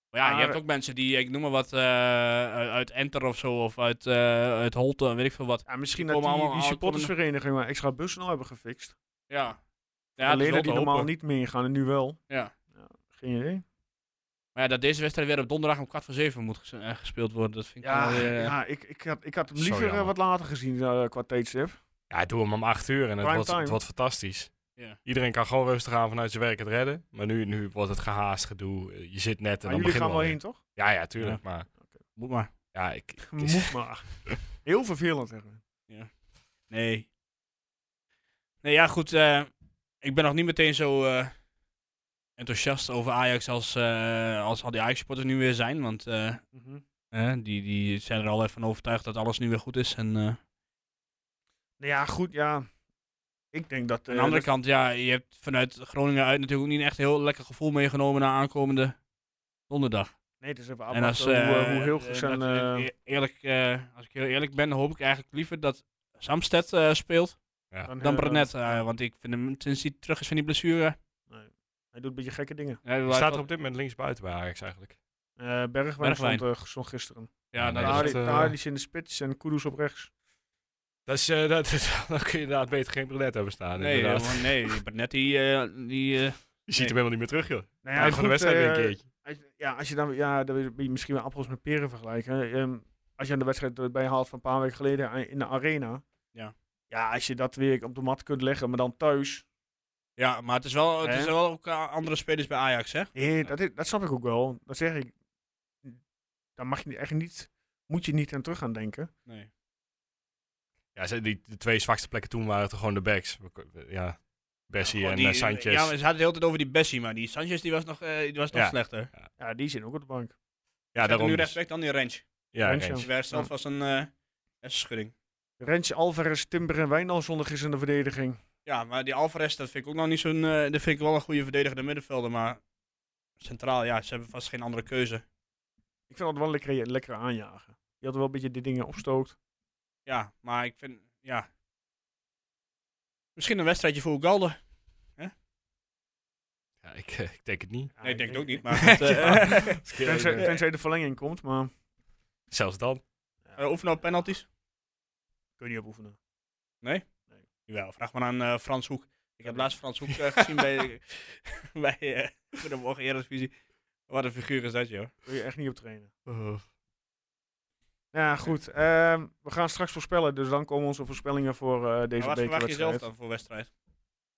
Speaker 5: Maar ja, je
Speaker 1: Maar-
Speaker 5: hebt ook mensen die, ik noem maar wat, eh, u- uit Enter of zo, of uit, eh uit Holte, weet ik veel wat.
Speaker 1: Ja, misschien
Speaker 5: Die
Speaker 1: dat
Speaker 5: komen
Speaker 1: die,
Speaker 5: allemaal-
Speaker 1: die
Speaker 5: al-
Speaker 1: supportersvereniging maar extra bussen al nou hebben gefixt.
Speaker 5: Ja.
Speaker 1: Ja,
Speaker 5: ja dat is
Speaker 1: Alleen
Speaker 5: wel
Speaker 1: dat die
Speaker 5: te
Speaker 1: normaal
Speaker 5: hopen.
Speaker 1: niet meegaan en nu wel.
Speaker 5: Ja.
Speaker 1: Geen idee.
Speaker 5: Maar ja, dat deze wedstrijd weer op donderdag om kwart voor zeven moet ges- eh, gespeeld worden, dat vind ik
Speaker 1: Ja,
Speaker 5: wel weer, eh,
Speaker 1: ja ik, ik, had, ik had hem
Speaker 4: Zo
Speaker 1: liever eh,
Speaker 4: jammer.
Speaker 1: wat later gezien eh, qua tijdstip.
Speaker 4: Ja, doe hem om acht uur en het
Speaker 1: Prime
Speaker 4: wordt, het
Speaker 1: time.
Speaker 4: wordt fantastisch.
Speaker 5: Ja.
Speaker 4: Iedereen kan gewoon rustig aan vanuit zijn werk het redden. Maar nu, nu wordt het gehaast gedoe. Eh, Je zit net en
Speaker 1: Maar
Speaker 4: dan
Speaker 1: jullie
Speaker 4: beginnen
Speaker 1: gaan
Speaker 4: we
Speaker 1: wel
Speaker 4: alweer.
Speaker 1: heen, toch?
Speaker 4: Ja, ja, tuurlijk. Maar
Speaker 5: Moet maar.
Speaker 4: ja, ik, het is-
Speaker 1: Moet maar. Heel vervelend, zeg maar.
Speaker 5: Nee. Nee, ja, goed. eh, ik ben nog niet meteen zo eh, enthousiast over Ajax als, eh, als al die Ajax-supporters nu weer zijn. Want eh,
Speaker 1: Nou
Speaker 5: eh, die, die zijn er al even van overtuigd dat alles nu weer goed is. En eh,
Speaker 1: Nou ja, goed, ja. Ik denk dat... eh,
Speaker 5: aan de andere
Speaker 1: dat-
Speaker 5: kant, ja, je hebt vanuit Groningen uit natuurlijk ook niet echt een heel lekker gevoel meegenomen naar aankomende donderdag.
Speaker 1: Nee, het is even
Speaker 5: en als,
Speaker 1: afwachten hoe,
Speaker 5: eh,
Speaker 1: eh, hoe heel
Speaker 5: eh,
Speaker 1: goed zijn...
Speaker 5: dat-
Speaker 1: eh,
Speaker 5: e- eerlijk, eh, als ik heel eerlijk ben, hoop ik eigenlijk liever dat Samsted eh, speelt dan
Speaker 1: eh,
Speaker 5: Brenet. eh, want ik vind hem sinds hij terug is van die blessure. eh,
Speaker 1: Hij doet een beetje gekke dingen.
Speaker 5: Ja,
Speaker 4: Wie staat er op dit moment links buiten bij Ajax eigenlijk?
Speaker 1: Eh Bergwijn
Speaker 5: Bergwijn.
Speaker 1: stond eh, stond gisteren.
Speaker 5: Ja,
Speaker 4: Nee,
Speaker 5: nou,
Speaker 4: dat
Speaker 5: dat
Speaker 1: Daar
Speaker 4: is het, eh,
Speaker 1: is in de spits en Kudus op rechts.
Speaker 4: Dat is, eh, dat, dan kun je inderdaad beter geen brunette hebben staan.
Speaker 5: nee,
Speaker 4: inderdaad.
Speaker 5: helemaal- nee, Barnett die... eh, die eh,
Speaker 4: Je ziet hem helemaal niet meer terug, joh.
Speaker 1: Nou
Speaker 4: Eind van de
Speaker 1: goed,
Speaker 4: wedstrijd weer
Speaker 1: eh,
Speaker 4: een keertje.
Speaker 1: Als, ja, als je dan, ja, dan wil je misschien wel appels met peren vergelijken. Ehm, als je aan de wedstrijd erbij haalt van een paar weken geleden a- in de arena.
Speaker 5: Ja.
Speaker 1: Ja, als je dat weer op de mat kunt leggen, maar dan thuis.
Speaker 5: ja, maar het is wel, het
Speaker 1: Hè?
Speaker 5: is wel ook eh, andere spelers bij Ajax, hè?
Speaker 1: Nee, dat, is- dat snap ik ook wel. Dat zeg ik. Daar mag je echt niet, moet je niet aan terug gaan denken.
Speaker 5: Nee.
Speaker 4: Ja, ze- die, de twee zwakste plekken toen waren toch gewoon de backs. We ko- we- Ja, Bessie en eh, Sanchez.
Speaker 5: Ja, maar ze hadden het de hele tijd over die Bessie, maar die Sanchez die was nog, eh, die was nog
Speaker 4: Ja.
Speaker 5: slechter. Ja,
Speaker 1: Ja, die zit ook op de bank.
Speaker 4: ja
Speaker 5: nu
Speaker 4: daarom. dus-
Speaker 5: rechtsback, dan die Range.
Speaker 4: ja,
Speaker 1: Rens,
Speaker 4: Rens.
Speaker 5: Die werd zelf
Speaker 1: Ja.
Speaker 5: was een eh hersenschudding.
Speaker 1: Rensje, Alvarez, Timber en Wijnal zondag is in de verdediging.
Speaker 5: Ja, maar die Alvarez, dat vind ik ook nog niet zo'n... eh dat vind ik wel een goede verdedigende middenvelder, maar... Centraal, ja, ze hebben vast geen andere keuze.
Speaker 1: Ik vind dat wel lekker, lekker aanjagen. Je had wel een beetje die dingen opstookt.
Speaker 5: Ja, maar ik vind... Ja. Misschien een wedstrijdje voor Ugalde.
Speaker 4: Ja, ik, eh, ik denk het niet.
Speaker 1: Ja,
Speaker 5: nee, ik denk het ook niet, maar...
Speaker 4: Ja.
Speaker 5: goed, eh,
Speaker 1: Tenzij, tenzij de verlenging komt, maar
Speaker 4: Zelfs dan.
Speaker 5: eh, oefenen op penalties.
Speaker 1: kun je niet op oefenen.
Speaker 5: Jawel, vraag maar aan eh, Frans Hoek. Ik heb laatst Frans Hoek eh, gezien bij, bij eh Goedemorgen Eredivisie. Wat een figuur is dat, joh.
Speaker 1: Kun je echt niet op trainen. Nou ja, goed. Ehm, we gaan straks voorspellen, dus dan komen onze voorspellingen voor eh
Speaker 5: Maar
Speaker 1: deze
Speaker 5: wat verwacht je zelf
Speaker 1: bekerwedstrijd.
Speaker 5: dan voor wedstrijd?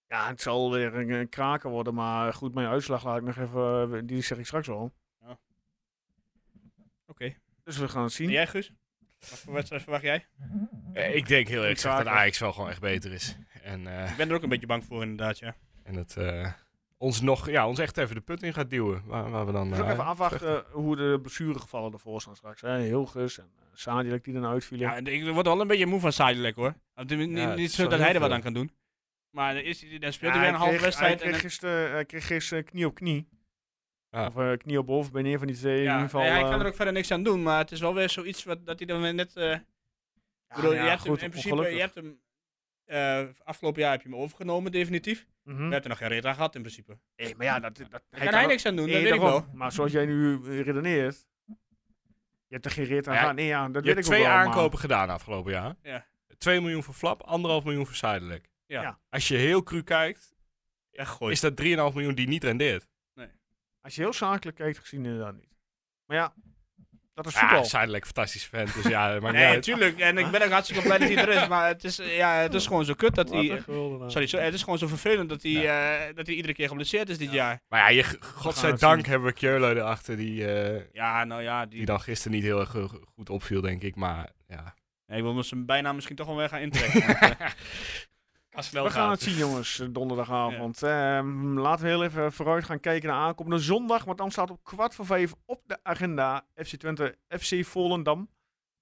Speaker 1: Ja, het zal weer een, een kraken worden, maar goed, mijn uitslag laat ik nog even, eh, die zeg ik straks al.
Speaker 5: Oké.
Speaker 1: Dus we gaan het
Speaker 5: En
Speaker 1: zien.
Speaker 5: jij, Guus? Wat voor wedstrijd verwacht jij?
Speaker 4: Eh, Ik denk heel eerlijk gezegd dat
Speaker 1: Kraken.
Speaker 4: Ajax wel gewoon echt beter is. En, eh,
Speaker 5: Ik ben er ook een beetje bang voor, inderdaad, ja.
Speaker 4: en het eh, ons, nog, ja, ons echt even de put in gaat duwen. Waar, waar we dan,
Speaker 1: Dus ook
Speaker 4: eh,
Speaker 1: even afwachten eh, hoe de blessuregevallen ervoor staan straks. Hè? Hilgers en uh, die dan uitvielen.
Speaker 5: Ja, en ik word wel een beetje moe van Sidelek hoor. Want het is niet,
Speaker 4: Ja, het
Speaker 5: niet
Speaker 4: is
Speaker 5: zo
Speaker 4: wel
Speaker 5: dat
Speaker 4: heel
Speaker 5: hij er wat
Speaker 4: veel.
Speaker 5: aan kan doen. Maar dan, is hij, dan speelt
Speaker 1: Ja,
Speaker 5: hij weer
Speaker 1: hij
Speaker 5: een halve
Speaker 1: kreeg-
Speaker 5: wedstrijd.
Speaker 1: Hij
Speaker 5: En
Speaker 1: kreeg
Speaker 5: dan,
Speaker 1: gisteren, eh, hij kreeg gisteren knie op knie.
Speaker 4: Ja.
Speaker 1: Of eh, knie op boven, bij een van die twee.
Speaker 5: ja,
Speaker 1: in ieder geval,
Speaker 5: nee, hij
Speaker 1: eh,
Speaker 5: kan er ook verder niks aan doen. Maar het is wel weer zoiets wat, dat hij dan weer net. eh, ik
Speaker 1: ja,
Speaker 5: bedoel,
Speaker 1: nou
Speaker 5: je
Speaker 1: ja,
Speaker 5: hebt
Speaker 1: goed,
Speaker 5: hem, in principe,
Speaker 1: ongelukkig.
Speaker 5: je hebt hem. eh, afgelopen jaar heb je hem overgenomen, definitief.
Speaker 4: Hm.
Speaker 1: Mhm.
Speaker 5: Je hebt er nog geen reet aan gehad, in principe. Daar
Speaker 1: Nee, Eh, maar ja, dat, dat, hij
Speaker 5: kan
Speaker 1: kan
Speaker 5: hij
Speaker 1: ook-
Speaker 5: niks aan doen,
Speaker 1: Nee,
Speaker 5: dat weet ik
Speaker 1: daarom.
Speaker 5: wel.
Speaker 1: Maar zoals jij nu eh, redeneert. Je hebt er geen reet aan
Speaker 4: Ja,
Speaker 1: gaan. Nee, ja, dat
Speaker 4: Je
Speaker 1: weet ik
Speaker 4: hebt
Speaker 1: ook wel.
Speaker 4: twee
Speaker 1: maar-
Speaker 4: aankopen gedaan afgelopen jaar.
Speaker 5: Ja.
Speaker 4: 2 miljoen voor Flap, 1,5 miljoen voor Zijdelijk.
Speaker 5: Ja.
Speaker 1: Ja.
Speaker 4: Als je heel cru kijkt,
Speaker 5: Echt gooi.
Speaker 4: is dat 3,5 miljoen die niet rendeert.
Speaker 1: Als je heel zakelijk kijkt, gezien inderdaad niet. Maar ja, dat is
Speaker 4: Ja,
Speaker 1: voetbal.
Speaker 4: Zijdelijk, Ah, fantastische vent. Dus ja, maar
Speaker 5: Nee, natuurlijk. En ik ben ook hartstikke blij dat hij er is. Maar het is, eh, ja, het is gewoon zo kut dat hij.
Speaker 4: eh.
Speaker 5: Sorry, zo, het is gewoon zo vervelend dat hij, eh, dat hij iedere keer geblesseerd is dit jaar.
Speaker 4: Maar ja, je, godzijdank
Speaker 1: zien.
Speaker 4: hebben we Keulen erachter die, eh,
Speaker 5: Ja, nou ja,
Speaker 4: die
Speaker 5: die,
Speaker 4: dan gisteren niet heel erg eh, goed opviel, denk ik. Maar ja,
Speaker 5: Nee, ik wil zijn bijna misschien toch wel weer gaan intrekken. want, eh,
Speaker 4: kan snel
Speaker 1: We gaan het zien, jongens, eh, donderdagavond. Ehm, laten we heel even vooruit gaan kijken naar aankomende zondag. Want dan staat op kwart voor vijf op de agenda FC Twente, FC Volendam.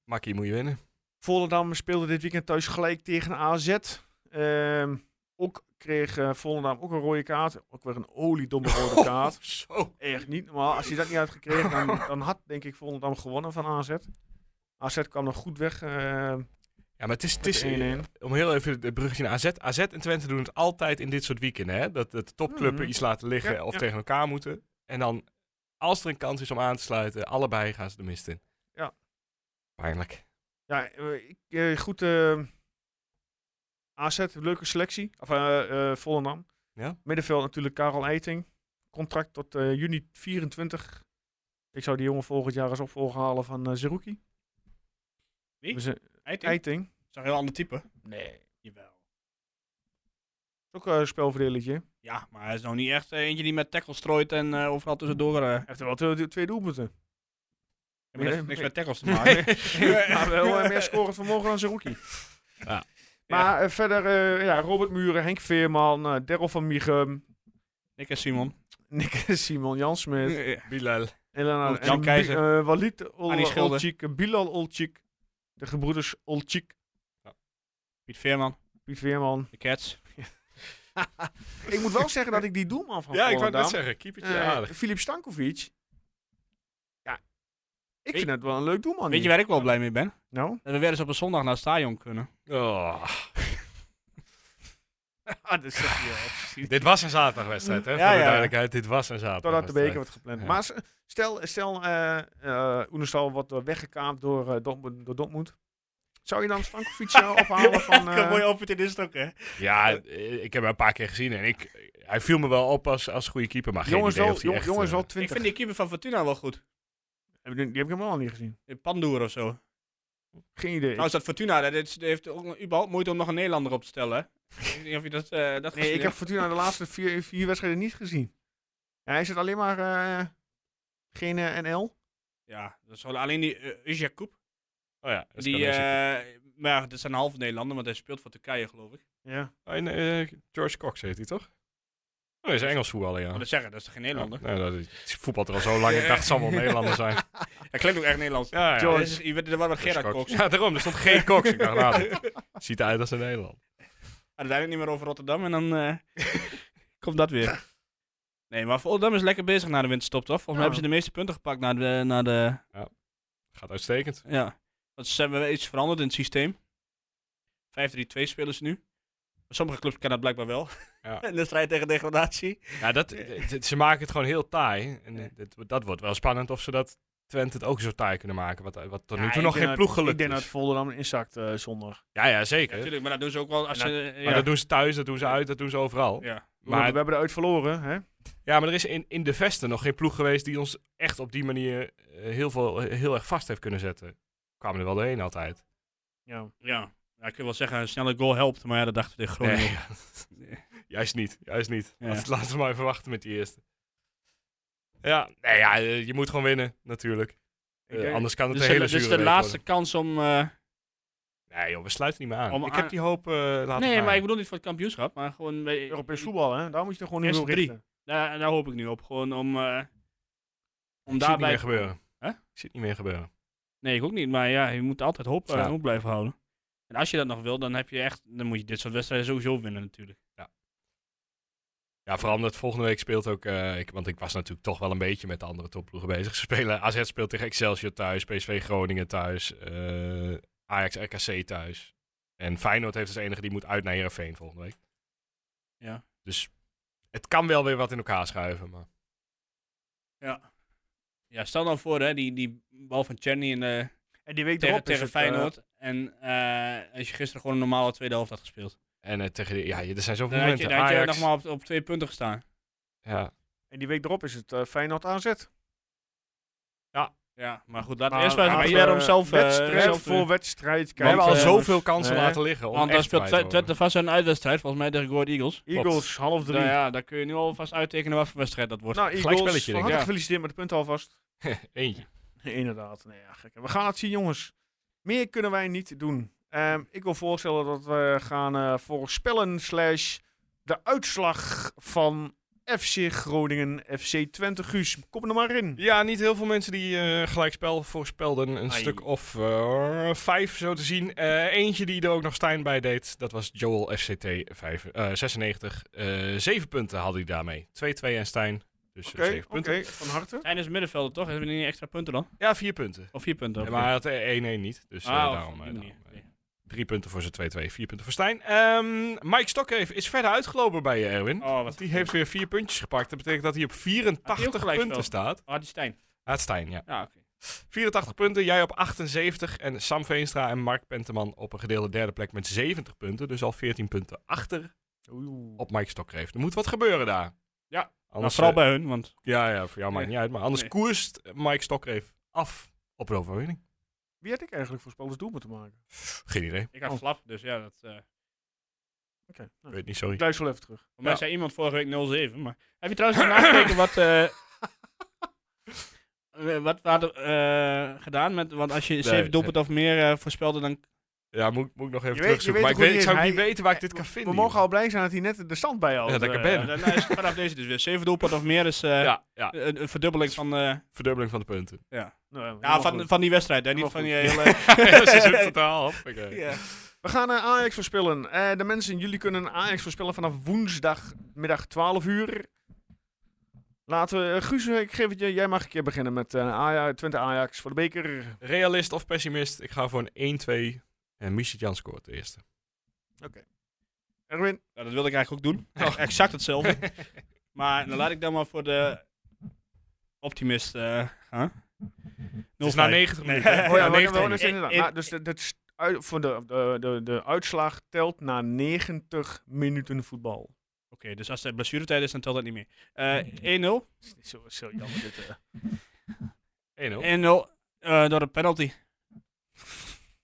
Speaker 4: Makkie moet je winnen.
Speaker 1: Volendam speelde dit weekend thuis gelijk tegen AZ. Ehm, ook kreeg eh, Volendam ook een rode kaart. Ook weer een oliedomme rode kaart.
Speaker 4: Oh, Zo.
Speaker 1: Echt niet normaal. Als je dat niet had gekregen, dan, dan had denk ik Volendam gewonnen van AZ. AZ kwam nog goed weg. eh
Speaker 4: Ja, maar het is, het
Speaker 1: met
Speaker 4: is
Speaker 1: 1-1.
Speaker 4: om heel even het bruggetje naar AZ. AZ en Twente doen het altijd in dit soort weekenden. Hè? Dat, dat de topclubben
Speaker 1: Mhm.
Speaker 4: iets laten liggen
Speaker 1: Ja,
Speaker 4: of
Speaker 1: ja.
Speaker 4: tegen elkaar moeten. En dan, als er een kans is om aan te sluiten, allebei gaan ze de mist in.
Speaker 1: Ja.
Speaker 4: Pijnlijk.
Speaker 1: Ja, eh, ik, eh, goed. eh AZ, leuke selectie. Of eh, eh, Volendam.
Speaker 4: Ja.
Speaker 1: Middenveld natuurlijk Karel Eiting. Contract tot eh, juni 24. Ik zou die jongen volgend jaar als opvolger halen van eh Zerouki.
Speaker 5: Wie?
Speaker 1: Dus, eh,
Speaker 5: Eiting?
Speaker 1: Eiting.
Speaker 5: is een heel ander type.
Speaker 1: Nee.
Speaker 5: Jawel.
Speaker 1: Ook eh, een spelverdelertje. Hij
Speaker 5: Ja, maar hij is nog niet echt eh, eentje die met tackles strooit en eh, overal tussendoor. eh
Speaker 1: heeft er wel twee, twee doelpunten.
Speaker 5: maar dat heeft
Speaker 1: nee.
Speaker 5: niks met tackles te maken.
Speaker 1: maar wel eh, meer scorend vermogen dan Zerouki.
Speaker 4: Ja.
Speaker 1: Maar eh, verder, eh, ja, Robert Muren, Henk Veerman, eh Daryl van Michum,
Speaker 5: Nick en Simon.
Speaker 1: Nick Simon Jansmit.
Speaker 4: Eh, Bilal.
Speaker 1: Elena
Speaker 5: Of Jan Keizer.
Speaker 1: Bi- eh, Walid Ol-
Speaker 5: Arnie Schilder.
Speaker 1: Olcik, eh, Bilal Olcik, de gebroeders Olcik,
Speaker 5: Piet Veerman.
Speaker 1: Piet Veerman.
Speaker 5: De Cats.
Speaker 1: ik moet wel zeggen dat ik die doelman van
Speaker 4: Ja, ik wou het
Speaker 1: Volendam,
Speaker 4: net zeggen. Keepertje
Speaker 1: eh,
Speaker 4: aardig.
Speaker 1: Filip Stankovic. Ja, ik
Speaker 5: Weet-
Speaker 1: vind het wel een leuk doelman.
Speaker 5: Weet je
Speaker 1: die.
Speaker 5: waar ik wel blij mee ben?
Speaker 1: Nou,
Speaker 5: Dat we weer eens op een zondag naar het stadion kunnen.
Speaker 4: Oh,
Speaker 1: ah, dat zeg je wel.
Speaker 4: dit was een zaterdagwedstrijd, hè?
Speaker 5: Ja,
Speaker 4: voor de
Speaker 5: ja.
Speaker 4: duidelijkheid. Dit was een
Speaker 1: Totdat de
Speaker 4: zaterdagwedstrijd.
Speaker 1: beker wordt gepland.
Speaker 4: Ja.
Speaker 1: Maar s- stel, stel eh eh, Oenestal wordt eh, weggekaapt door, eh, Dortmund, door Dortmund. Zou je dan Stankovic eh, ophalen van... eh,
Speaker 5: over dit is ook, hè?
Speaker 4: Ja, eh, ik heb hem een paar keer gezien en ik, hij viel me wel op als, als goede keeper, maar geen
Speaker 1: jongens,
Speaker 4: idee
Speaker 1: wel,
Speaker 4: of hij
Speaker 1: jong-
Speaker 4: echt,
Speaker 1: jongens
Speaker 4: eh,
Speaker 1: wel
Speaker 5: Ik
Speaker 1: 20.
Speaker 5: vind die keeper van Fortuna wel goed.
Speaker 1: Die heb ik helemaal al niet gezien.
Speaker 5: In Pandoer of zo.
Speaker 1: Geen idee.
Speaker 5: Nou is dat Fortuna, dat is- die heeft ook überhaupt moeite om nog een Nederlander op te stellen. hè? ik weet niet of je dat, eh dat
Speaker 1: Nee, ik heb Fortuna de laatste vier, vier wedstrijden niet gezien. Ja, hij zit alleen maar eh, geen eh, NL.
Speaker 5: Ja, dat is wel alleen die eh, Ujja Koep.
Speaker 4: Oh ja, dat
Speaker 5: Die,
Speaker 4: kan dus-
Speaker 5: eh, maar ja, dit zijn half Nederlander, want hij speelt voor Turkije, geloof ik.
Speaker 1: Ja.
Speaker 4: Oh, en, eh, George Cox heet hij toch? Oh, hij is Engels voetballer, ja.
Speaker 5: Wat ik zeggen, dat is toch geen Nederlander?
Speaker 4: Ja, nou, dat is, voetbalt er al zo lang, ik dacht het zal wel Nederlander zijn.
Speaker 5: Hij klinkt ook echt Nederlands.
Speaker 4: Ja, ja.
Speaker 1: George
Speaker 5: Dat is- Je weet er wel wat
Speaker 4: George
Speaker 5: Gerard Cox.
Speaker 4: Ja, daarom, er stond geen Cox. Ik dacht, nou, dit ziet eruit als een Nederland.
Speaker 5: Uiteindelijk niet meer over Rotterdam en dan eh, komt dat weer. Nee, maar Volendam is lekker bezig na de winterstop, toch? Volgens mij
Speaker 1: Ja.
Speaker 5: hebben ze de meeste punten gepakt na de... Na de
Speaker 4: Gaat uitstekend.
Speaker 5: ja. Want ze hebben iets veranderd in het systeem. 5-3-2 spelen ze nu. Bij sommige clubs kan dat blijkbaar wel.
Speaker 4: Ja.
Speaker 5: in de strijd tegen degradatie.
Speaker 4: Ja, dat, d- d- ze maken het gewoon heel taai. En eh, dit- dat wordt wel spannend of ze dat Twente het ook zo taai kunnen maken. Wat, wat tot nu
Speaker 1: Ja,
Speaker 4: toe
Speaker 1: ik denk
Speaker 4: nog geen
Speaker 1: dat-
Speaker 4: ploeg gelukt dus.
Speaker 1: Ik denk dat
Speaker 4: is.
Speaker 1: Volendam inzakt eh zondag.
Speaker 4: Ja, ja,
Speaker 5: Ja,
Speaker 4: zeker.
Speaker 5: natuurlijk, maar dat doen ze ook wel als
Speaker 1: En
Speaker 5: ze...
Speaker 4: Maar dat doen ze thuis, dat doen ze uit, dat doen ze overal. Ja,
Speaker 5: ja.
Speaker 1: Maar
Speaker 4: Maar-
Speaker 1: we hebben eruit verloren, hè?
Speaker 4: maar er is in, in de Vesten nog geen ploeg geweest die ons echt op die manier eh, heel, veel, heel erg vast heeft kunnen zetten. Kwamen er wel doorheen altijd.
Speaker 1: Ja.
Speaker 5: Ja. ja, ik kan wel zeggen, een snelle goal helpt, maar ja, dat dachten we tegen Groningen.
Speaker 4: Nee, juist niet, juist niet.
Speaker 5: Ja.
Speaker 4: Laat- Laten we maar even wachten met die eerste. Ja, nee, ja, eh, je moet gewoon winnen, natuurlijk.
Speaker 1: Ik
Speaker 4: Eh,
Speaker 1: denk-
Speaker 4: anders kan het
Speaker 5: Dit
Speaker 4: een
Speaker 5: is de,
Speaker 4: hele
Speaker 5: dit is
Speaker 4: zure
Speaker 5: dus de
Speaker 4: week
Speaker 5: laatste kans om... eh,
Speaker 4: worden. Nee joh, we sluiten niet meer aan.
Speaker 5: Om
Speaker 4: ik
Speaker 5: aan-
Speaker 4: heb die hoop eh, laten
Speaker 5: nee,
Speaker 4: gaan.
Speaker 5: maar ik bedoel niet voor het kampioenschap, maar gewoon... bij-
Speaker 1: Europees voetbal, hè? Daar moet je toch gewoon in
Speaker 5: Eerste
Speaker 1: op
Speaker 5: drie.
Speaker 1: richten.
Speaker 5: Daar, daar hoop ik nu op. Gewoon om,
Speaker 4: Om
Speaker 5: eh, om
Speaker 4: daarbij... niet
Speaker 5: daarbij...
Speaker 4: meer gebeuren.
Speaker 5: Hè?
Speaker 4: Ziet niet meer gebeuren.
Speaker 5: Nee, ik ook niet. Maar ja, je moet altijd hoop, eh,
Speaker 4: Ja.
Speaker 5: hoop blijven houden. En als je dat nog wil, dan, heb je echt, dan moet je dit soort wedstrijden sowieso winnen natuurlijk.
Speaker 4: Ja, vooral omdat volgende week speelt ook... eh, ik, want ik was natuurlijk toch wel een beetje met de andere topploegen bezig. Ze spelen AZ speelt tegen Excelsior thuis, PSV Groningen thuis, eh, Ajax RKC thuis. En Feyenoord heeft als enige die moet uit naar Heerenveen volgende week.
Speaker 5: Ja.
Speaker 4: Dus het kan wel weer wat in elkaar schuiven, maar...
Speaker 5: Ja, stel nou voor, hè, die, die bal van Cherny in, eh,
Speaker 1: En die week
Speaker 5: tegen,
Speaker 1: erop is
Speaker 5: tegen
Speaker 1: het, eh,
Speaker 5: Feyenoord. en eh, als je gisteren gewoon een normale tweede helft had gespeeld.
Speaker 4: En eh, tegen de, ja, je- er zijn zoveel
Speaker 5: Dan had je,
Speaker 4: momenten.
Speaker 5: dan had je
Speaker 4: Ajax,
Speaker 5: nog maar op, op twee punten gestaan.
Speaker 4: ja.
Speaker 1: en die week erop is het eh, Feyenoord AZ.
Speaker 5: Nou, Ja, maar goed, laten we
Speaker 1: Maar
Speaker 5: eerst maar
Speaker 1: laten
Speaker 5: even
Speaker 1: we
Speaker 5: om zelf... eh,
Speaker 1: wedstrijd
Speaker 5: zelf te-
Speaker 1: voor wedstrijd.
Speaker 4: We
Speaker 1: Kijk,
Speaker 4: hebben al
Speaker 5: eh,
Speaker 4: zoveel kansen
Speaker 1: nee.
Speaker 4: laten liggen. Om
Speaker 5: Want dan
Speaker 4: echt
Speaker 5: speelt
Speaker 4: kwijt te
Speaker 5: Twe-
Speaker 4: worden.
Speaker 5: Twente vast een uitwedstrijd, volgens mij tegen Goord Eagles.
Speaker 1: Eagles, half drie.
Speaker 5: Nou ja, daar kun je nu alvast uittekenen wat voor wedstrijd dat wordt.
Speaker 1: Nou, Eagles, van
Speaker 4: Gelijkspelletje, denk ik.
Speaker 1: harte
Speaker 5: Ja.
Speaker 1: gefeliciteerd met de punten alvast.
Speaker 4: Eentje.
Speaker 1: Inderdaad. Nee, ja, gek. We gaan het zien, jongens. Meer kunnen wij niet doen. Ehm, ik wil voorstellen dat we gaan eh, voorspellen slash de uitslag van FC Groningen, FC Twente. Guus, kom er maar in.
Speaker 4: Ja, niet heel veel mensen die eh, gelijkspel voorspelden. Een
Speaker 1: Ai.
Speaker 4: stuk of eh, vijf, zo te zien. Eh, eentje die er ook nog Stijn bij deed, dat was Joel FCT vijf- eh, 96. Eh, zeven punten had hij daarmee. 2-2 en Stijn. Dus eh,
Speaker 1: Oké,
Speaker 4: zeven punten.
Speaker 1: oké, van harte.
Speaker 5: Zijn is middenvelder toch? Hebben we niet extra punten dan?
Speaker 4: Ja, vier punten.
Speaker 5: Of vier punten?
Speaker 4: Ja,
Speaker 5: of
Speaker 4: maar hij
Speaker 5: niet?
Speaker 4: had eh, 1-1 niet. Dus eh,
Speaker 5: Ah, of
Speaker 4: daarom.
Speaker 5: op
Speaker 4: eh,
Speaker 5: die
Speaker 4: daarom,
Speaker 5: manier.
Speaker 4: eh,
Speaker 5: Oké.
Speaker 4: Drie punten voor zijn 2-2, vier punten voor Stijn. Ehm, Mike Stokkeef is verder uitgelopen bij je, Erwin.
Speaker 5: Oh,
Speaker 4: Want
Speaker 5: wat
Speaker 4: die heeft weer vier puntjes gepakt. Dat betekent dat hij op 84
Speaker 5: gelijkspel?
Speaker 4: punten staat.
Speaker 5: Ah, die Stijn. Nou,
Speaker 4: Ah, het is Stijn, ja.
Speaker 5: Ja, oké.
Speaker 4: 84 punten, jij op 78. En Sam Veenstra en Mark Penteman op een gedeelde derde plek met 70 punten. Dus al 14 punten achter op Mike Stokreef. Er moet wat gebeuren daar.
Speaker 1: nou,
Speaker 5: Ja, Maar
Speaker 4: anders,
Speaker 5: vooral
Speaker 4: eh,
Speaker 5: bij hun, want
Speaker 4: ja, ja, voor jou maakt
Speaker 5: Ja.
Speaker 4: niet uit. Maar anders
Speaker 5: Nee.
Speaker 4: koerst Mike Stokreef af op een overwinning.
Speaker 1: Wie had ik eigenlijk voorspeld als doelman te maken?
Speaker 4: Geen idee.
Speaker 5: ik had
Speaker 1: Oh.
Speaker 5: flap, dus ja, dat... eh,
Speaker 1: Oké,
Speaker 4: Ik
Speaker 1: nou,
Speaker 4: weet niet, sorry.
Speaker 1: ik luister wel even terug.
Speaker 5: Voor mij zei iemand vorige week 07, maar... Heb je trouwens even nagekeken wat... eh, eh, wat we hadden eh, gedaan met... Want als je zeven doelpunten of meer eh, voorspelde, dan...
Speaker 4: Ja, moet, moet ik nog even
Speaker 1: Je weet- je
Speaker 4: terugzoeken.
Speaker 1: weet
Speaker 4: maar
Speaker 1: toch
Speaker 4: ik, weet,
Speaker 1: hoe
Speaker 4: ik zou
Speaker 1: die is?
Speaker 4: niet
Speaker 1: Hij-
Speaker 4: weten waar ik dit kan vinden.
Speaker 1: We mogen
Speaker 4: joh.
Speaker 1: al blij zijn dat hij net de stand bijhoudt.
Speaker 4: Ja, dat ik er
Speaker 1: eh,
Speaker 4: ben.
Speaker 5: Ja, dan is het vanaf deze dus weer. Zeven doelpunten of meer is eh,
Speaker 4: Ja, ja,
Speaker 5: een, een verdubbeling van... eh,
Speaker 4: verdubbeling van de punten.
Speaker 1: nou, helemaal
Speaker 5: ja, van,
Speaker 1: goed.
Speaker 5: van die wedstrijd, hè. Niet
Speaker 1: Helemaal
Speaker 5: van die
Speaker 1: goed.
Speaker 5: hele...
Speaker 4: Ja, Ze zijn totaal af. Oké.
Speaker 5: Ja.
Speaker 1: We gaan eh, Ajax voorspellen. Eh, de mensen, jullie kunnen Ajax voorspellen vanaf woensdagmiddag 12 uur. Laten we, eh, Guus, ik geef het je, jij mag een keer beginnen met eh Aja- Twente Ajax voor de beker.
Speaker 4: Realist of pessimist, ik ga voor een 1-2. En Michel Jan scoort de eerste.
Speaker 1: Erwin,
Speaker 5: Ja, dat wilde ik eigenlijk ook doen. E-, Exact hetzelfde. maar dan laat ik dan maar voor de optimist eh gaan.
Speaker 4: Het is na 90 minuten. hè?
Speaker 5: Nee.
Speaker 1: oh ja,
Speaker 4: Na
Speaker 1: maar
Speaker 4: 90
Speaker 1: wel
Speaker 4: minuten.
Speaker 1: eens inderdaad.
Speaker 5: Ik-
Speaker 1: Nou, dus de, dat is uit- voor de, de, de, de uitslag telt na 90 minuten voetbal.
Speaker 5: Oké, dus als het blessuretijd is, dan telt dat niet meer. Eh 1-0.
Speaker 1: Dat is niet zo, zo jammer dit. eh.
Speaker 4: 1-0.
Speaker 5: 1-0 eh, door een penalty.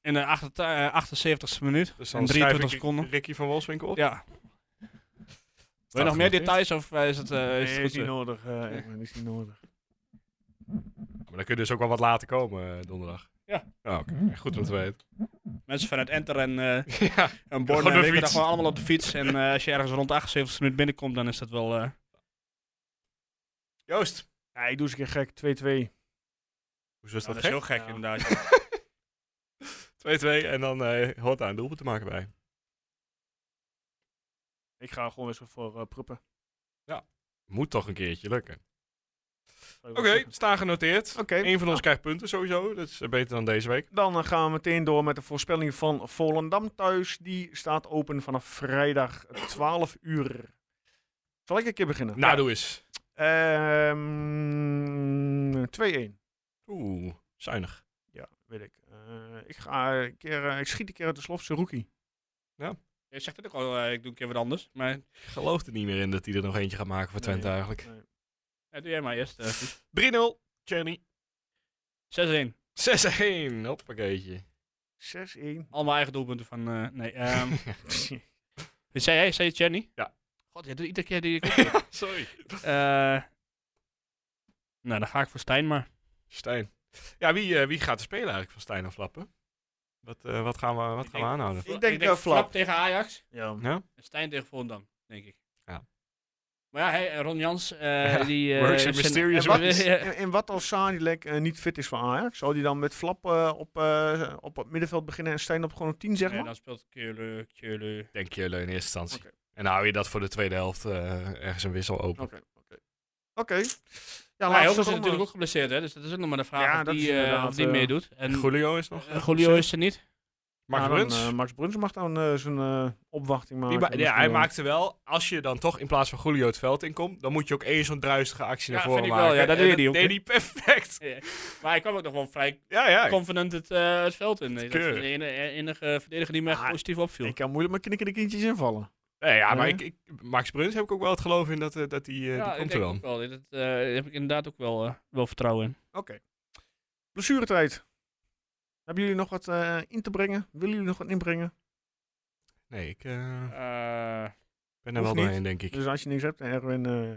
Speaker 5: In de 78 e minuut.
Speaker 4: Dus
Speaker 5: en
Speaker 4: dan
Speaker 5: 23
Speaker 4: schrijf ik
Speaker 5: seconden.
Speaker 4: Ricky van Wolfswinkel op.
Speaker 5: Ja. Wil je nog meer details of eh, is het, eh, is het
Speaker 1: Nee,
Speaker 5: goed?
Speaker 1: is niet nodig. eh, Erwin, is niet nodig.
Speaker 4: Maar dan kun je dus ook wel wat later komen eh, donderdag.
Speaker 5: Ja.
Speaker 4: Oh, oké. Goed om te weten.
Speaker 5: Mensen vanuit Enter en, eh
Speaker 4: ja.
Speaker 5: en
Speaker 4: Gewoon
Speaker 5: Born
Speaker 4: op de
Speaker 5: en Wicker,
Speaker 4: fiets.
Speaker 5: gewoon allemaal op de fiets. En eh, als je ergens rond de 78 minuut binnenkomt, dan is dat wel... eh,
Speaker 4: Joost.
Speaker 1: Ja, ik doe eens een keer gek. 2-2.
Speaker 4: Hoezo is dat
Speaker 5: nou, dat is
Speaker 4: gek?
Speaker 5: heel gek
Speaker 1: Ja.
Speaker 5: inderdaad.
Speaker 4: 2-2 en dan eh, hoort daar een doelpunt te maken bij.
Speaker 1: Ik ga gewoon eens voor eh, Pruppen.
Speaker 4: Moet toch een keertje lukken.
Speaker 1: Zou je
Speaker 4: Oké,
Speaker 1: wel zeggen.
Speaker 4: staan genoteerd.
Speaker 1: Oké.
Speaker 4: Eén van ons krijgt punten sowieso. Dat is eh, beter dan deze week.
Speaker 1: Dan eh, gaan we meteen door met de voorspelling van Volendam thuis. Die staat open vanaf vrijdag 12 uur. Zal ik een keer beginnen?
Speaker 4: Nou, doe eens.
Speaker 1: Ehm, 2-1.
Speaker 4: Oeh, zuinig.
Speaker 1: Ja, weet ik. Eh, ik, ga een keer, eh, ik schiet een keer uit de slof, Rookie.
Speaker 5: Je zegt het ook al, eh, ik doe een keer wat anders. Maar
Speaker 4: Ik geloof er niet meer in dat hij er nog eentje gaat maken voor Twente
Speaker 1: Nee.
Speaker 4: eigenlijk.
Speaker 5: ja, doe jij maar eerst. eh, Guus.
Speaker 4: 3-0. Cherny.
Speaker 5: 6-1.
Speaker 4: 6-1. Hoppakeetje.
Speaker 1: 6-1.
Speaker 5: Allemaal eigen doelpunten van... eh, nee, ehm Wat zei jij? Zei je Jenny?
Speaker 4: Ja.
Speaker 5: God, je doet iedere keer die... Eh
Speaker 4: Sorry.
Speaker 5: nou, dan ga ik voor Stijn maar.
Speaker 4: Stijn. Ja, wie, eh, wie gaat er spelen eigenlijk van Stijn of Flappen? Wat, eh, wat gaan we, wat
Speaker 5: Ik
Speaker 4: gaan
Speaker 5: denk-
Speaker 4: we aanhouden?
Speaker 1: denk, eh, Flap.
Speaker 5: tegen Ajax
Speaker 1: ja.
Speaker 4: Ja?
Speaker 5: en Stijn tegen Volendam, denk ik. Maar ja, hey, Ron Jans, eh,
Speaker 4: Ja,
Speaker 5: die... eh,
Speaker 4: works in
Speaker 5: heeft zijn-
Speaker 4: mysterious
Speaker 5: Ja,
Speaker 4: ways.
Speaker 5: ja,
Speaker 1: En, en wat als Sadilek eh, niet fit is voor Ajax? Zou die dan met Flap eh, op, eh, op het middenveld beginnen en Stijn op gewoon op 10, zeg maar?
Speaker 5: Nee, dan speelt Keule, Keule.
Speaker 4: Denk je in eerste instantie.
Speaker 1: Oké.
Speaker 4: En dan hou je dat voor de tweede helft eh, ergens een wissel open.
Speaker 1: Oké, oké. Oké. Ja,
Speaker 5: Ja,
Speaker 1: laatste eh,
Speaker 5: Hilgers is
Speaker 1: komen.
Speaker 5: natuurlijk ook geblesseerd, hè? Dus dat is ook nog maar de
Speaker 1: Ja,
Speaker 5: vraag
Speaker 1: dat
Speaker 5: of
Speaker 1: is
Speaker 5: die, eh,
Speaker 1: inderdaad,
Speaker 5: of die
Speaker 1: eh,
Speaker 5: meedoet. En
Speaker 4: Julio is nog.
Speaker 5: eh, Julio is er niet.
Speaker 4: Max
Speaker 1: Ja, dan,
Speaker 4: Bruns.
Speaker 1: eh, Max Bruns mag dan eh, zijn eh, opwachting maken. dus eh,
Speaker 4: Die ma-
Speaker 1: misschien
Speaker 4: ja, hij
Speaker 1: wel.
Speaker 4: maakte wel, als je dan toch in plaats van Julio het veld inkomt, dan moet je ook één zo'n druistige actie
Speaker 5: Ja,
Speaker 4: naar voren
Speaker 5: vind ik
Speaker 4: maken.
Speaker 5: wel. Ja, dat
Speaker 4: En
Speaker 5: deed hij ook,
Speaker 4: deed
Speaker 5: hè?
Speaker 4: hij perfect.
Speaker 5: Maar hij kwam ook nog wel vrij
Speaker 4: Ja, ja.
Speaker 5: confident het, eh, het veld in. Dat is
Speaker 4: Keurig.
Speaker 5: de enige, enige verdediger die me echt
Speaker 1: Ah,
Speaker 5: positief opviel.
Speaker 1: Ik kan moeilijk met knikkende kindjes invallen.
Speaker 4: Nee, ja, maar
Speaker 1: Ja.
Speaker 4: ik, ik, Max Bruns heb ik ook wel het geloof in dat, eh, dat die, eh,
Speaker 5: Ja,
Speaker 4: die
Speaker 5: ik
Speaker 4: komt er
Speaker 5: denk
Speaker 4: wel.
Speaker 5: ook wel. Dat, eh, Daar heb ik inderdaad ook wel, eh, wel vertrouwen in.
Speaker 1: Oké. Blessuretijd. Hebben jullie nog wat eh, in te brengen? Willen jullie nog wat inbrengen?
Speaker 4: Nee, ik eh,
Speaker 5: Eh,
Speaker 4: ben er
Speaker 1: hoeft
Speaker 4: wel
Speaker 1: niet.
Speaker 4: doorheen, denk ik.
Speaker 1: Dus als je niks hebt, Erwin... eh,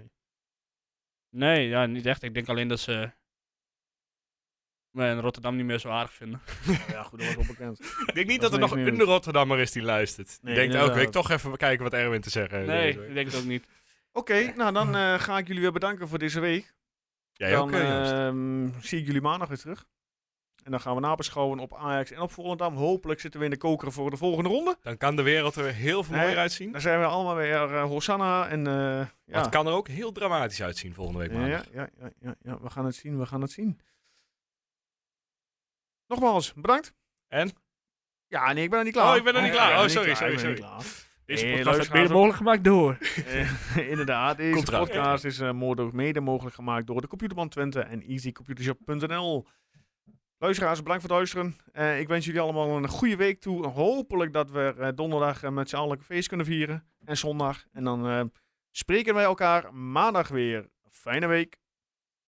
Speaker 5: nee, ja, niet echt. Ik denk alleen dat ze me in Rotterdam niet meer zo aardig vinden.
Speaker 1: ja, goed, dat was wel bekend.
Speaker 4: Ik denk niet
Speaker 1: Dat
Speaker 4: dat
Speaker 1: is
Speaker 4: er
Speaker 1: niks
Speaker 4: nog
Speaker 1: nieuws.
Speaker 4: een Rotterdammer is die luistert.
Speaker 1: Nee,
Speaker 4: die denkt elke week
Speaker 1: inderdaad.
Speaker 4: toch even kijken wat Erwin te zeggen heeft.
Speaker 5: Nee,
Speaker 4: deze week.
Speaker 5: ik denk het ook niet.
Speaker 1: Oké, nou dan eh, ga ik jullie weer bedanken voor deze week.
Speaker 4: Jij
Speaker 1: dan
Speaker 4: ook, eh, Joost?
Speaker 1: ehm, zie ik jullie maandag weer terug. En dan gaan we nabeschouwen op Ajax en op Volendam. Hopelijk zitten we in de koker voor de volgende ronde.
Speaker 4: Dan kan de wereld er heel veel
Speaker 1: Nee,
Speaker 4: mooier uitzien.
Speaker 1: Dan zijn we allemaal weer eh, Hosanna en... eh,
Speaker 4: Maar
Speaker 1: ja.
Speaker 4: het kan er ook heel dramatisch uitzien volgende week
Speaker 1: Ja,
Speaker 4: maandag.
Speaker 1: ja, ja, ja, ja, ja, we gaan het zien, we gaan het zien. Nogmaals, bedankt.
Speaker 4: En?
Speaker 1: Ja, nee, ik ben er niet klaar.
Speaker 4: Oh, ik ben er niet klaar.
Speaker 1: ik ben
Speaker 4: Oh,
Speaker 1: er
Speaker 4: sorry,
Speaker 1: niet klaar,
Speaker 4: sorry,
Speaker 1: ik ben er niet
Speaker 4: Deze
Speaker 1: Eh,
Speaker 4: podcast
Speaker 1: luisteraars
Speaker 4: gaat mede
Speaker 1: ook.
Speaker 5: mogelijk gemaakt door.
Speaker 1: klaar. Eh, Inderdaad, deze
Speaker 4: Komt eraan.
Speaker 1: podcast is eh, mode- mede mogelijk gemaakt door de Computerband Twente en easycomputershop.nl. Luisteraars, bedankt voor het luisteren. Eh, ik wens jullie allemaal een goede week toe. Hopelijk dat we eh, donderdag eh, met z'n allen een feest kunnen vieren. En zondag. En dan eh, spreken wij elkaar maandag weer. Fijne week.